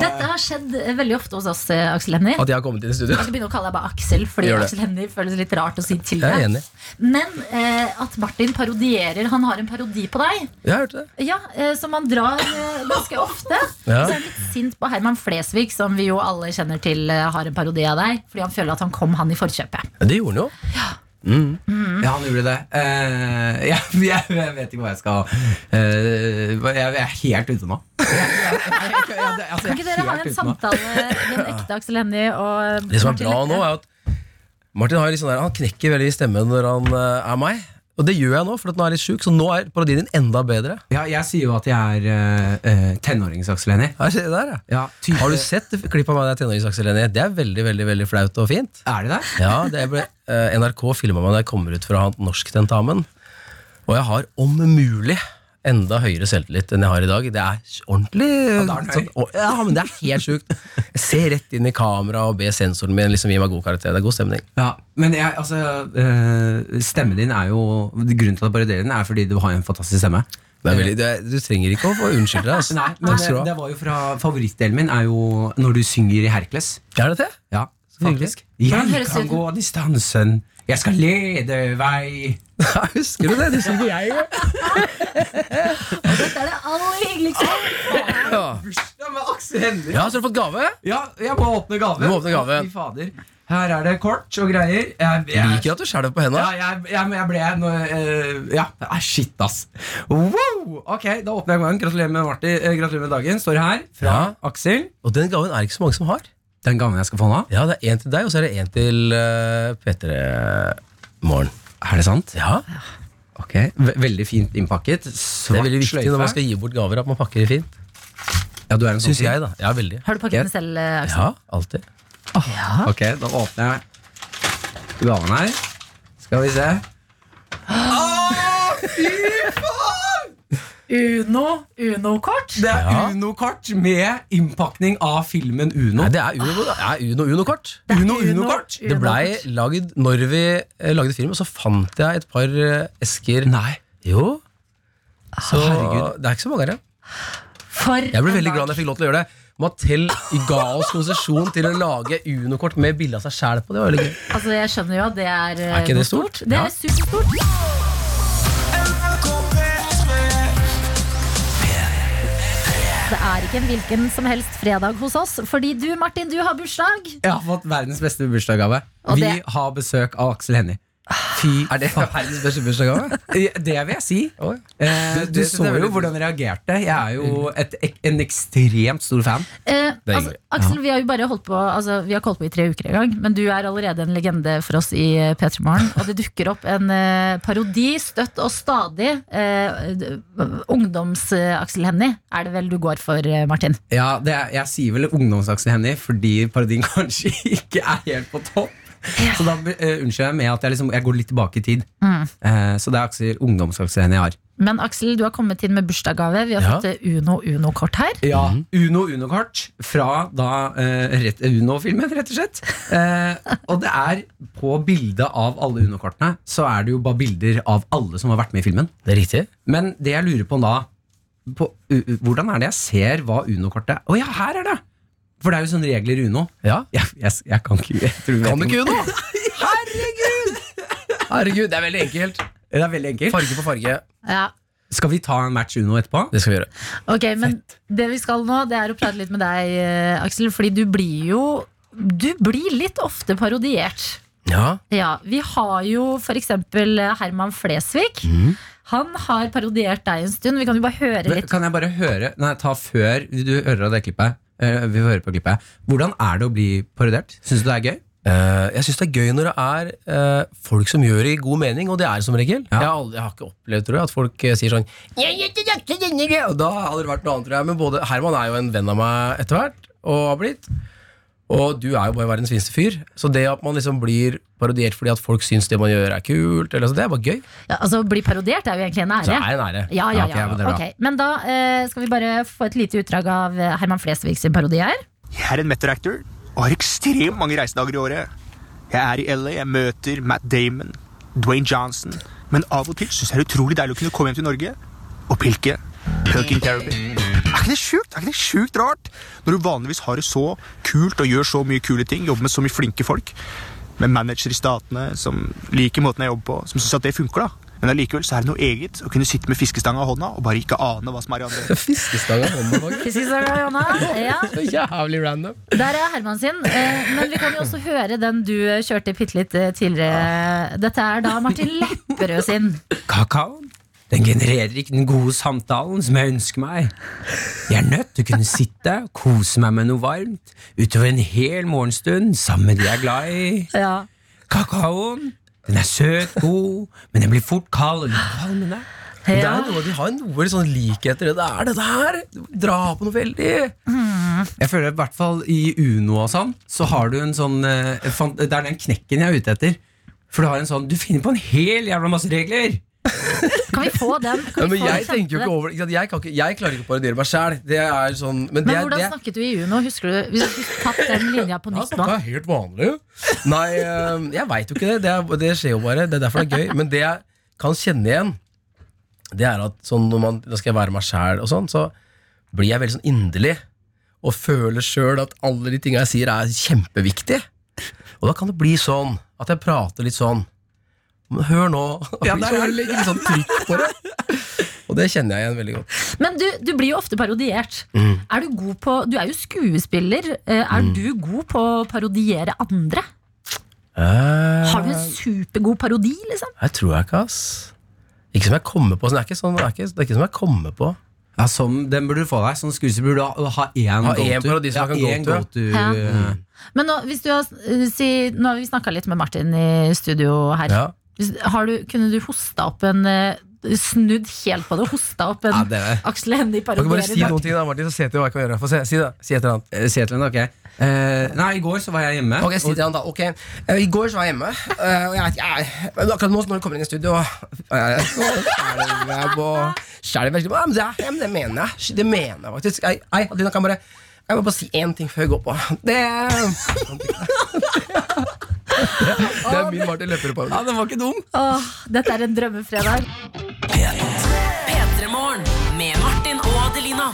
Speaker 3: Dette har skjedd eh, veldig ofte hos oss, eh, Aksel Hennie.
Speaker 12: At jeg har kommet inn i studio.
Speaker 3: Jeg skal begynne å kalle deg bare Aksel, fordi
Speaker 12: Gjør det.
Speaker 3: Aksel Hennie føles litt rart å si til
Speaker 12: Jeg er
Speaker 3: deg.
Speaker 12: enig.
Speaker 3: Men eh, at Martin parodierer Han har en parodi på deg,
Speaker 12: Jeg hørte det.
Speaker 3: Ja, eh, som han drar eh, ganske ofte.
Speaker 12: Ja.
Speaker 3: Og Så er han litt sint på Herman Flesvig, som vi jo alle kjenner til eh, har en parodi av deg, fordi han føler at han kom han i forkjøpet.
Speaker 12: Ja, det gjorde han jo. Mm.
Speaker 11: Mm.
Speaker 4: Ja, han gjorde det. Eh, jeg, jeg, jeg vet ikke hva jeg skal eh, hva- jeg, jeg er helt ute nå.
Speaker 3: Kan ikke dere ha en samtale med en ekte Aksel Hennie og eh,
Speaker 12: Det som er
Speaker 3: Martin
Speaker 12: bra
Speaker 3: Lepperød?
Speaker 12: nå, er at Martin har jo litt sånn der, han knekker veldig i stemmen når han eh, er meg. Og det gjør jeg nå, for at nå er jeg litt sjuk, så nå er parodien din enda bedre.
Speaker 4: Ja, jeg sier jo at jeg er uh, tenårings-Aksel Hennie.
Speaker 12: Her, se der, ja.
Speaker 4: Ja, type-
Speaker 12: Har du sett klipp av meg da jeg er tenåringsaksel Hennie? Det er veldig veldig, veldig flaut og fint.
Speaker 4: Er det der?
Speaker 12: Ja, det ble, eh, NRK filma meg da jeg kommer ut fra norsktentamen. Og jeg har om mulig enda høyere selvtillit enn jeg har i dag. Det er ordentlig
Speaker 4: da er den
Speaker 12: sånn, å, ja, men det er helt sjukt. Jeg ser rett inn i kamera og ber sensoren min liksom gi meg god karakter. Det er god stemning.
Speaker 4: Ja, men jeg, altså, eh, stemmen din er jo Grunnen til at jeg parodierer den, er fordi du har en fantastisk stemme.
Speaker 12: Det er veldig, det er, du trenger ikke å få unnskylde deg. Altså.
Speaker 4: Nei, men
Speaker 12: Takk
Speaker 4: det,
Speaker 12: skal du ha.
Speaker 4: det var jo fra Favorittdelen min er jo når du synger i Hercules.
Speaker 12: Er det det?
Speaker 4: Ja,
Speaker 12: hyggelig.
Speaker 4: faktisk. Jeg
Speaker 3: Hvordan høres det
Speaker 4: kan
Speaker 3: ut?
Speaker 4: gå distansen, jeg skal lede vei.
Speaker 12: Ja, Husker du det? Det synger jeg jo.
Speaker 3: Dette er det aller hyggeligste.
Speaker 12: Ja.
Speaker 4: Bursdag med Aksel Hennie!
Speaker 12: ja, så har du fått gave?
Speaker 4: Ja, jeg må åpne gave.
Speaker 12: Du må åpne gave.
Speaker 4: Å, Fy fader. Her er det kort og greier. Jeg,
Speaker 12: Jeg
Speaker 4: jeg,
Speaker 12: liker at du skjelver på henda.
Speaker 4: ja, jeg, jeg, jeg ble nå, eh, Ja, ah, shit, ass. Wow! Ok, da åpner jeg gaven. Gratulerer med, Martin, eh, gratulerer med dagen. Står her fra
Speaker 12: Ja.
Speaker 4: Aksel.
Speaker 12: Og den gaven er det ikke så mange som har.
Speaker 4: Den gaven jeg skal få nå.
Speaker 12: Ja, det er én til deg, og så er det én til uh, P3 Morgen.
Speaker 4: Er det sant?
Speaker 12: Ja,
Speaker 4: Ok, Ve- Veldig fint innpakket.
Speaker 12: Det
Speaker 4: Svart
Speaker 12: er veldig viktig
Speaker 4: sløyfe.
Speaker 12: når man skal gi bort gaver, at man pakker det fint. Ja, du er en sånn
Speaker 4: Syns
Speaker 12: fyr.
Speaker 4: jeg, da.
Speaker 12: Ja, veldig.
Speaker 3: Har du pakket den selv, eh, Aksel?
Speaker 12: Ja, alltid.
Speaker 4: Ok, da åpner jeg gaven her. Skal vi se.
Speaker 6: Fy faen!
Speaker 3: Uno? Uno-kort?
Speaker 4: Det er
Speaker 12: Ja.
Speaker 4: Uno-kort med innpakning av filmen Uno.
Speaker 12: Nei, det er Uno, det er Uno, Uno-kort.
Speaker 4: Uno, Uno-kort.
Speaker 12: Det blei lagd når vi eh, lagde film, og så fant jeg et par eh, esker Nei Jo Så
Speaker 4: Ah, Herregud.
Speaker 12: det er ikke så mange her, ja.
Speaker 3: For
Speaker 12: Jeg ble
Speaker 3: en
Speaker 12: veldig
Speaker 3: dag.
Speaker 12: glad da jeg fikk lov til å gjøre det. Mattel ga oss konsesjon til å lage Uno-kort med bilde av seg sjæl på. Det var veldig gøy.
Speaker 3: Altså, jeg skjønner jo at det er, eh,
Speaker 12: Er ikke det
Speaker 3: noe
Speaker 12: stort?
Speaker 3: Det
Speaker 12: Ja.
Speaker 3: er superstort. Det er ikke en hvilken som helst fredag hos oss, fordi du, Martin, du har bursdag.
Speaker 4: Jeg har fått verdens beste bursdagsgave.
Speaker 3: Og
Speaker 4: Vi
Speaker 3: det-
Speaker 4: har besøk av Aksel Hennie. Fy
Speaker 12: Er det verdens beste bursdagsgave?
Speaker 4: Det vil jeg si. Eh,
Speaker 12: Det-
Speaker 4: du
Speaker 12: det-
Speaker 4: så
Speaker 12: det er
Speaker 4: jo
Speaker 12: veldig-
Speaker 4: hvordan jeg reagerte. Jeg er jo et, ek- en ekstremt stor fan.
Speaker 3: Eh,
Speaker 4: Det er
Speaker 3: altså,
Speaker 4: hyggelig.
Speaker 3: Aksel, vi har jo bare holdt på altså, Vi har ikke holdt på i tre uker engang, men du er allerede en legende for oss i eh, P3 Morgen. Og det dukker opp en eh, parodi støtt og stadig. Eh, d- Ungdoms-Aksel Hennie er det vel du går for, eh, Martin?
Speaker 4: Ja, det er, Jeg sier vel ungdomsaksel Hennie fordi parodien kanskje ikke er helt på topp. Så da eh, unnskylder jeg med at jeg, liksom, jeg går litt tilbake i tid.
Speaker 3: Mm.
Speaker 4: Eh, så det er Aksel, ungdomsaksel Hennie jeg har.
Speaker 3: Men Aksel, du har kommet inn med bursdagsgave. Vi har
Speaker 4: Ja.
Speaker 3: fått eh, Uno Uno-kort her.
Speaker 4: Ja,
Speaker 12: Mhm.
Speaker 4: Uno Uno-kart fra da eh, rett- Uno-filmen, rett og slett. Eh, og det er på bildet av alle Uno-kortene, så er det jo bare bilder av alle som har vært med i filmen.
Speaker 12: Det er riktig.
Speaker 4: Men det jeg lurer på da på, u, u, Hvordan er det jeg ser hva Uno-kortet er? Å ja, her er det! For det er jo sånne regler i Uno.
Speaker 12: Ja.
Speaker 4: Jeg, jeg, jeg kan ikke jeg tror jeg
Speaker 12: Kan du
Speaker 4: vet
Speaker 12: ikke
Speaker 4: om-
Speaker 12: Uno? Herregud, det er veldig enkelt.
Speaker 4: Det er veldig enkelt.
Speaker 12: Farge på farge.
Speaker 3: Ja.
Speaker 4: Skal vi ta en match Uno etterpå?
Speaker 12: Det skal vi gjøre.
Speaker 3: Ok, men det vi skal nå, det er å prate litt med deg, eh, Aksel, fordi du blir jo Du blir litt ofte parodiert.
Speaker 12: Ja.
Speaker 3: Ja, Vi har jo f.eks. Herman Flesvig.
Speaker 12: Mm.
Speaker 3: Han har parodiert deg en stund. Vi kan jo bare høre
Speaker 4: Men
Speaker 3: litt.
Speaker 4: Kan jeg bare høre Nei, ta før du hører av det klippet. Eh, vi hører på klippet. Hvordan er det å bli parodiert? Syns du det er gøy?
Speaker 12: Eh, jeg syns det er gøy når det er eh, folk som gjør det i god mening, og det er det som regel. Jeg, har aldri, jeg har ikke opplevd tror jeg, at folk eh, sier sånn «Jeg er ikke jakte denne gøy», Og da hadde det vært noe annet, tror jeg. Men både Herman er jo en venn av meg etter hvert, og har blitt. Og du er jo bare verdens fineste fyr. Så det at man liksom blir parodiert fordi at folk syns det man gjør, er kult, eller, altså, det er bare gøy.
Speaker 3: Ja, altså, Å bli parodiert er jo egentlig en ære.
Speaker 12: Så det er en ære.
Speaker 3: Ja, ja,
Speaker 12: Ja, ok,
Speaker 3: ja.
Speaker 12: men det er bra.
Speaker 3: Ok, Men da eh, skal vi bare få et lite utdrag av eh, Herman Flesvig sin parodi her.
Speaker 13: Jeg er en Metter-actor og har ekstremt mange reisedager i året. Jeg er i LA, jeg møter Matt Damon, Dwayne Johnson, men av og til syns jeg det er utrolig deilig å kunne komme hjem til Norge og pilke. Pilking therapy. Er ikke det sjukt? Er ikke det sjukt rart? Når du vanligvis har det så kult og gjør så mye kule ting, jobber med så mye flinke folk, med manager i statene som liker måten jeg jobber på, som syns at det funker, da. Men allikevel så er det noe eget å kunne sitte med fiskestanga i hånda og bare ikke ane hva som er i andre.
Speaker 12: Fiskestanga i hånda,
Speaker 3: Fiskestanga i hånda, ja.
Speaker 12: Jævlig random.
Speaker 3: Der er Herman sin. Eh, men vi kan jo også høre den du kjørte bitte litt eh,
Speaker 12: Ah.
Speaker 3: tidligere. Dette er da Martin Lepperød sin.
Speaker 4: Kakaoen den genererer ikke den gode samtalen som jeg ønsker meg. Jeg er nødt til å kunne sitte og kose meg med noe varmt utover en hel morgenstund sammen med de jeg er glad i.
Speaker 3: Ja.
Speaker 4: Kakaoen den er søt, god, men den blir fort kald og litt kvalmende.
Speaker 12: Men Det er noe, de har noe sånn likheter. Det er dette her! Dra på noe veldig.
Speaker 4: Mm. Jeg føler i hvert fall i Uno og sånn, så har du en sånn eh, fan- Det er den knekken jeg er ute etter. For du har en sånn Du finner på en hel jævla masse regler!
Speaker 3: Kan vi få den? Kan
Speaker 12: Ja,
Speaker 3: vi
Speaker 12: men
Speaker 3: få
Speaker 12: jeg tenker
Speaker 3: den
Speaker 12: jo ikke
Speaker 3: kjente?
Speaker 12: over ikke sant? jeg, kan ikke, jeg klarer ikke å parodiere meg sjæl. Sånn, men det
Speaker 3: Men
Speaker 12: er
Speaker 3: hvordan
Speaker 12: det,
Speaker 3: snakket du i Uno? Husker du, Hvis du skulle tatt den linja på nytt nå?
Speaker 12: det er helt vanlig. Nei, eh, jeg veit jo ikke det. Det, er, det skjer jo bare. Det er derfor det er gøy. Men det jeg kan kjenne igjen, det er at sånn når man, da skal jeg være meg sjæl, og sånn, så blir jeg veldig sånn inderlig. Og føler sjøl at alle de tinga jeg sier, er kjempeviktige. Og da kan det bli sånn at jeg prater litt sånn. Men hør nå.
Speaker 6: Ja,
Speaker 12: Ja,
Speaker 6: der
Speaker 12: der
Speaker 6: er det.
Speaker 12: legger litt sånn trykk på det. Og det kjenner jeg igjen veldig godt.
Speaker 3: Men du, du blir jo ofte parodiert. Er du god på Du er jo skuespiller. Eh, Er
Speaker 12: Mm.
Speaker 3: du god på å parodiere andre? Har du en supergod parodi, liksom?
Speaker 12: Jeg tror jeg ikke, ass. Ikke som jeg kommer på. Sånn, det, er ikke sånn, det, er ikke, det er ikke som jeg kommer på.
Speaker 4: Ja, som, Den burde du få deg. Som skuespiller burde du ha- ha én
Speaker 12: Ha
Speaker 4: go-to.
Speaker 12: én parodi som man kan
Speaker 4: én
Speaker 12: go-to.
Speaker 4: go-to,
Speaker 3: Ja.
Speaker 4: eh,
Speaker 3: Men nå, hvis du har, eh, si, nå har vi snakka litt med Martin i studio her.
Speaker 12: Ja.
Speaker 3: Hvis- Har du, kunne du hosta opp en eh, snudd helt på det. Hosta opp en
Speaker 4: Ja, det er det.
Speaker 3: Aksel Hennie-parodi.
Speaker 4: Kan du bare si noen
Speaker 3: her i dag.
Speaker 4: ting, da, Martin, så ser jeg til hva jeg kan gjøre. Få se, si, da. si et eller annet.
Speaker 5: Eh, Si et eller annet, ok. Eh, nei, i går så var jeg hjemme.
Speaker 4: Ok, si
Speaker 5: og-
Speaker 4: til han da, ok Eh, I går så var jeg hjemme eh, Og jeg vet ikke, jeg, men akkurat nå når du kommer inn i studio eh, så Skjelver jeg på Skjelver jeg på Ja, men det, ja, men det mener jeg Det mener jeg faktisk Jeg, jeg, Adelina, kan jeg bare Jeg må bare si en ting før jeg går på Det Det er min Martin Løpere på
Speaker 5: Ja, den var ikke dum.
Speaker 3: Åh, dette er en drømmefredag.
Speaker 1: P3 Morgen med Martin og Adelina.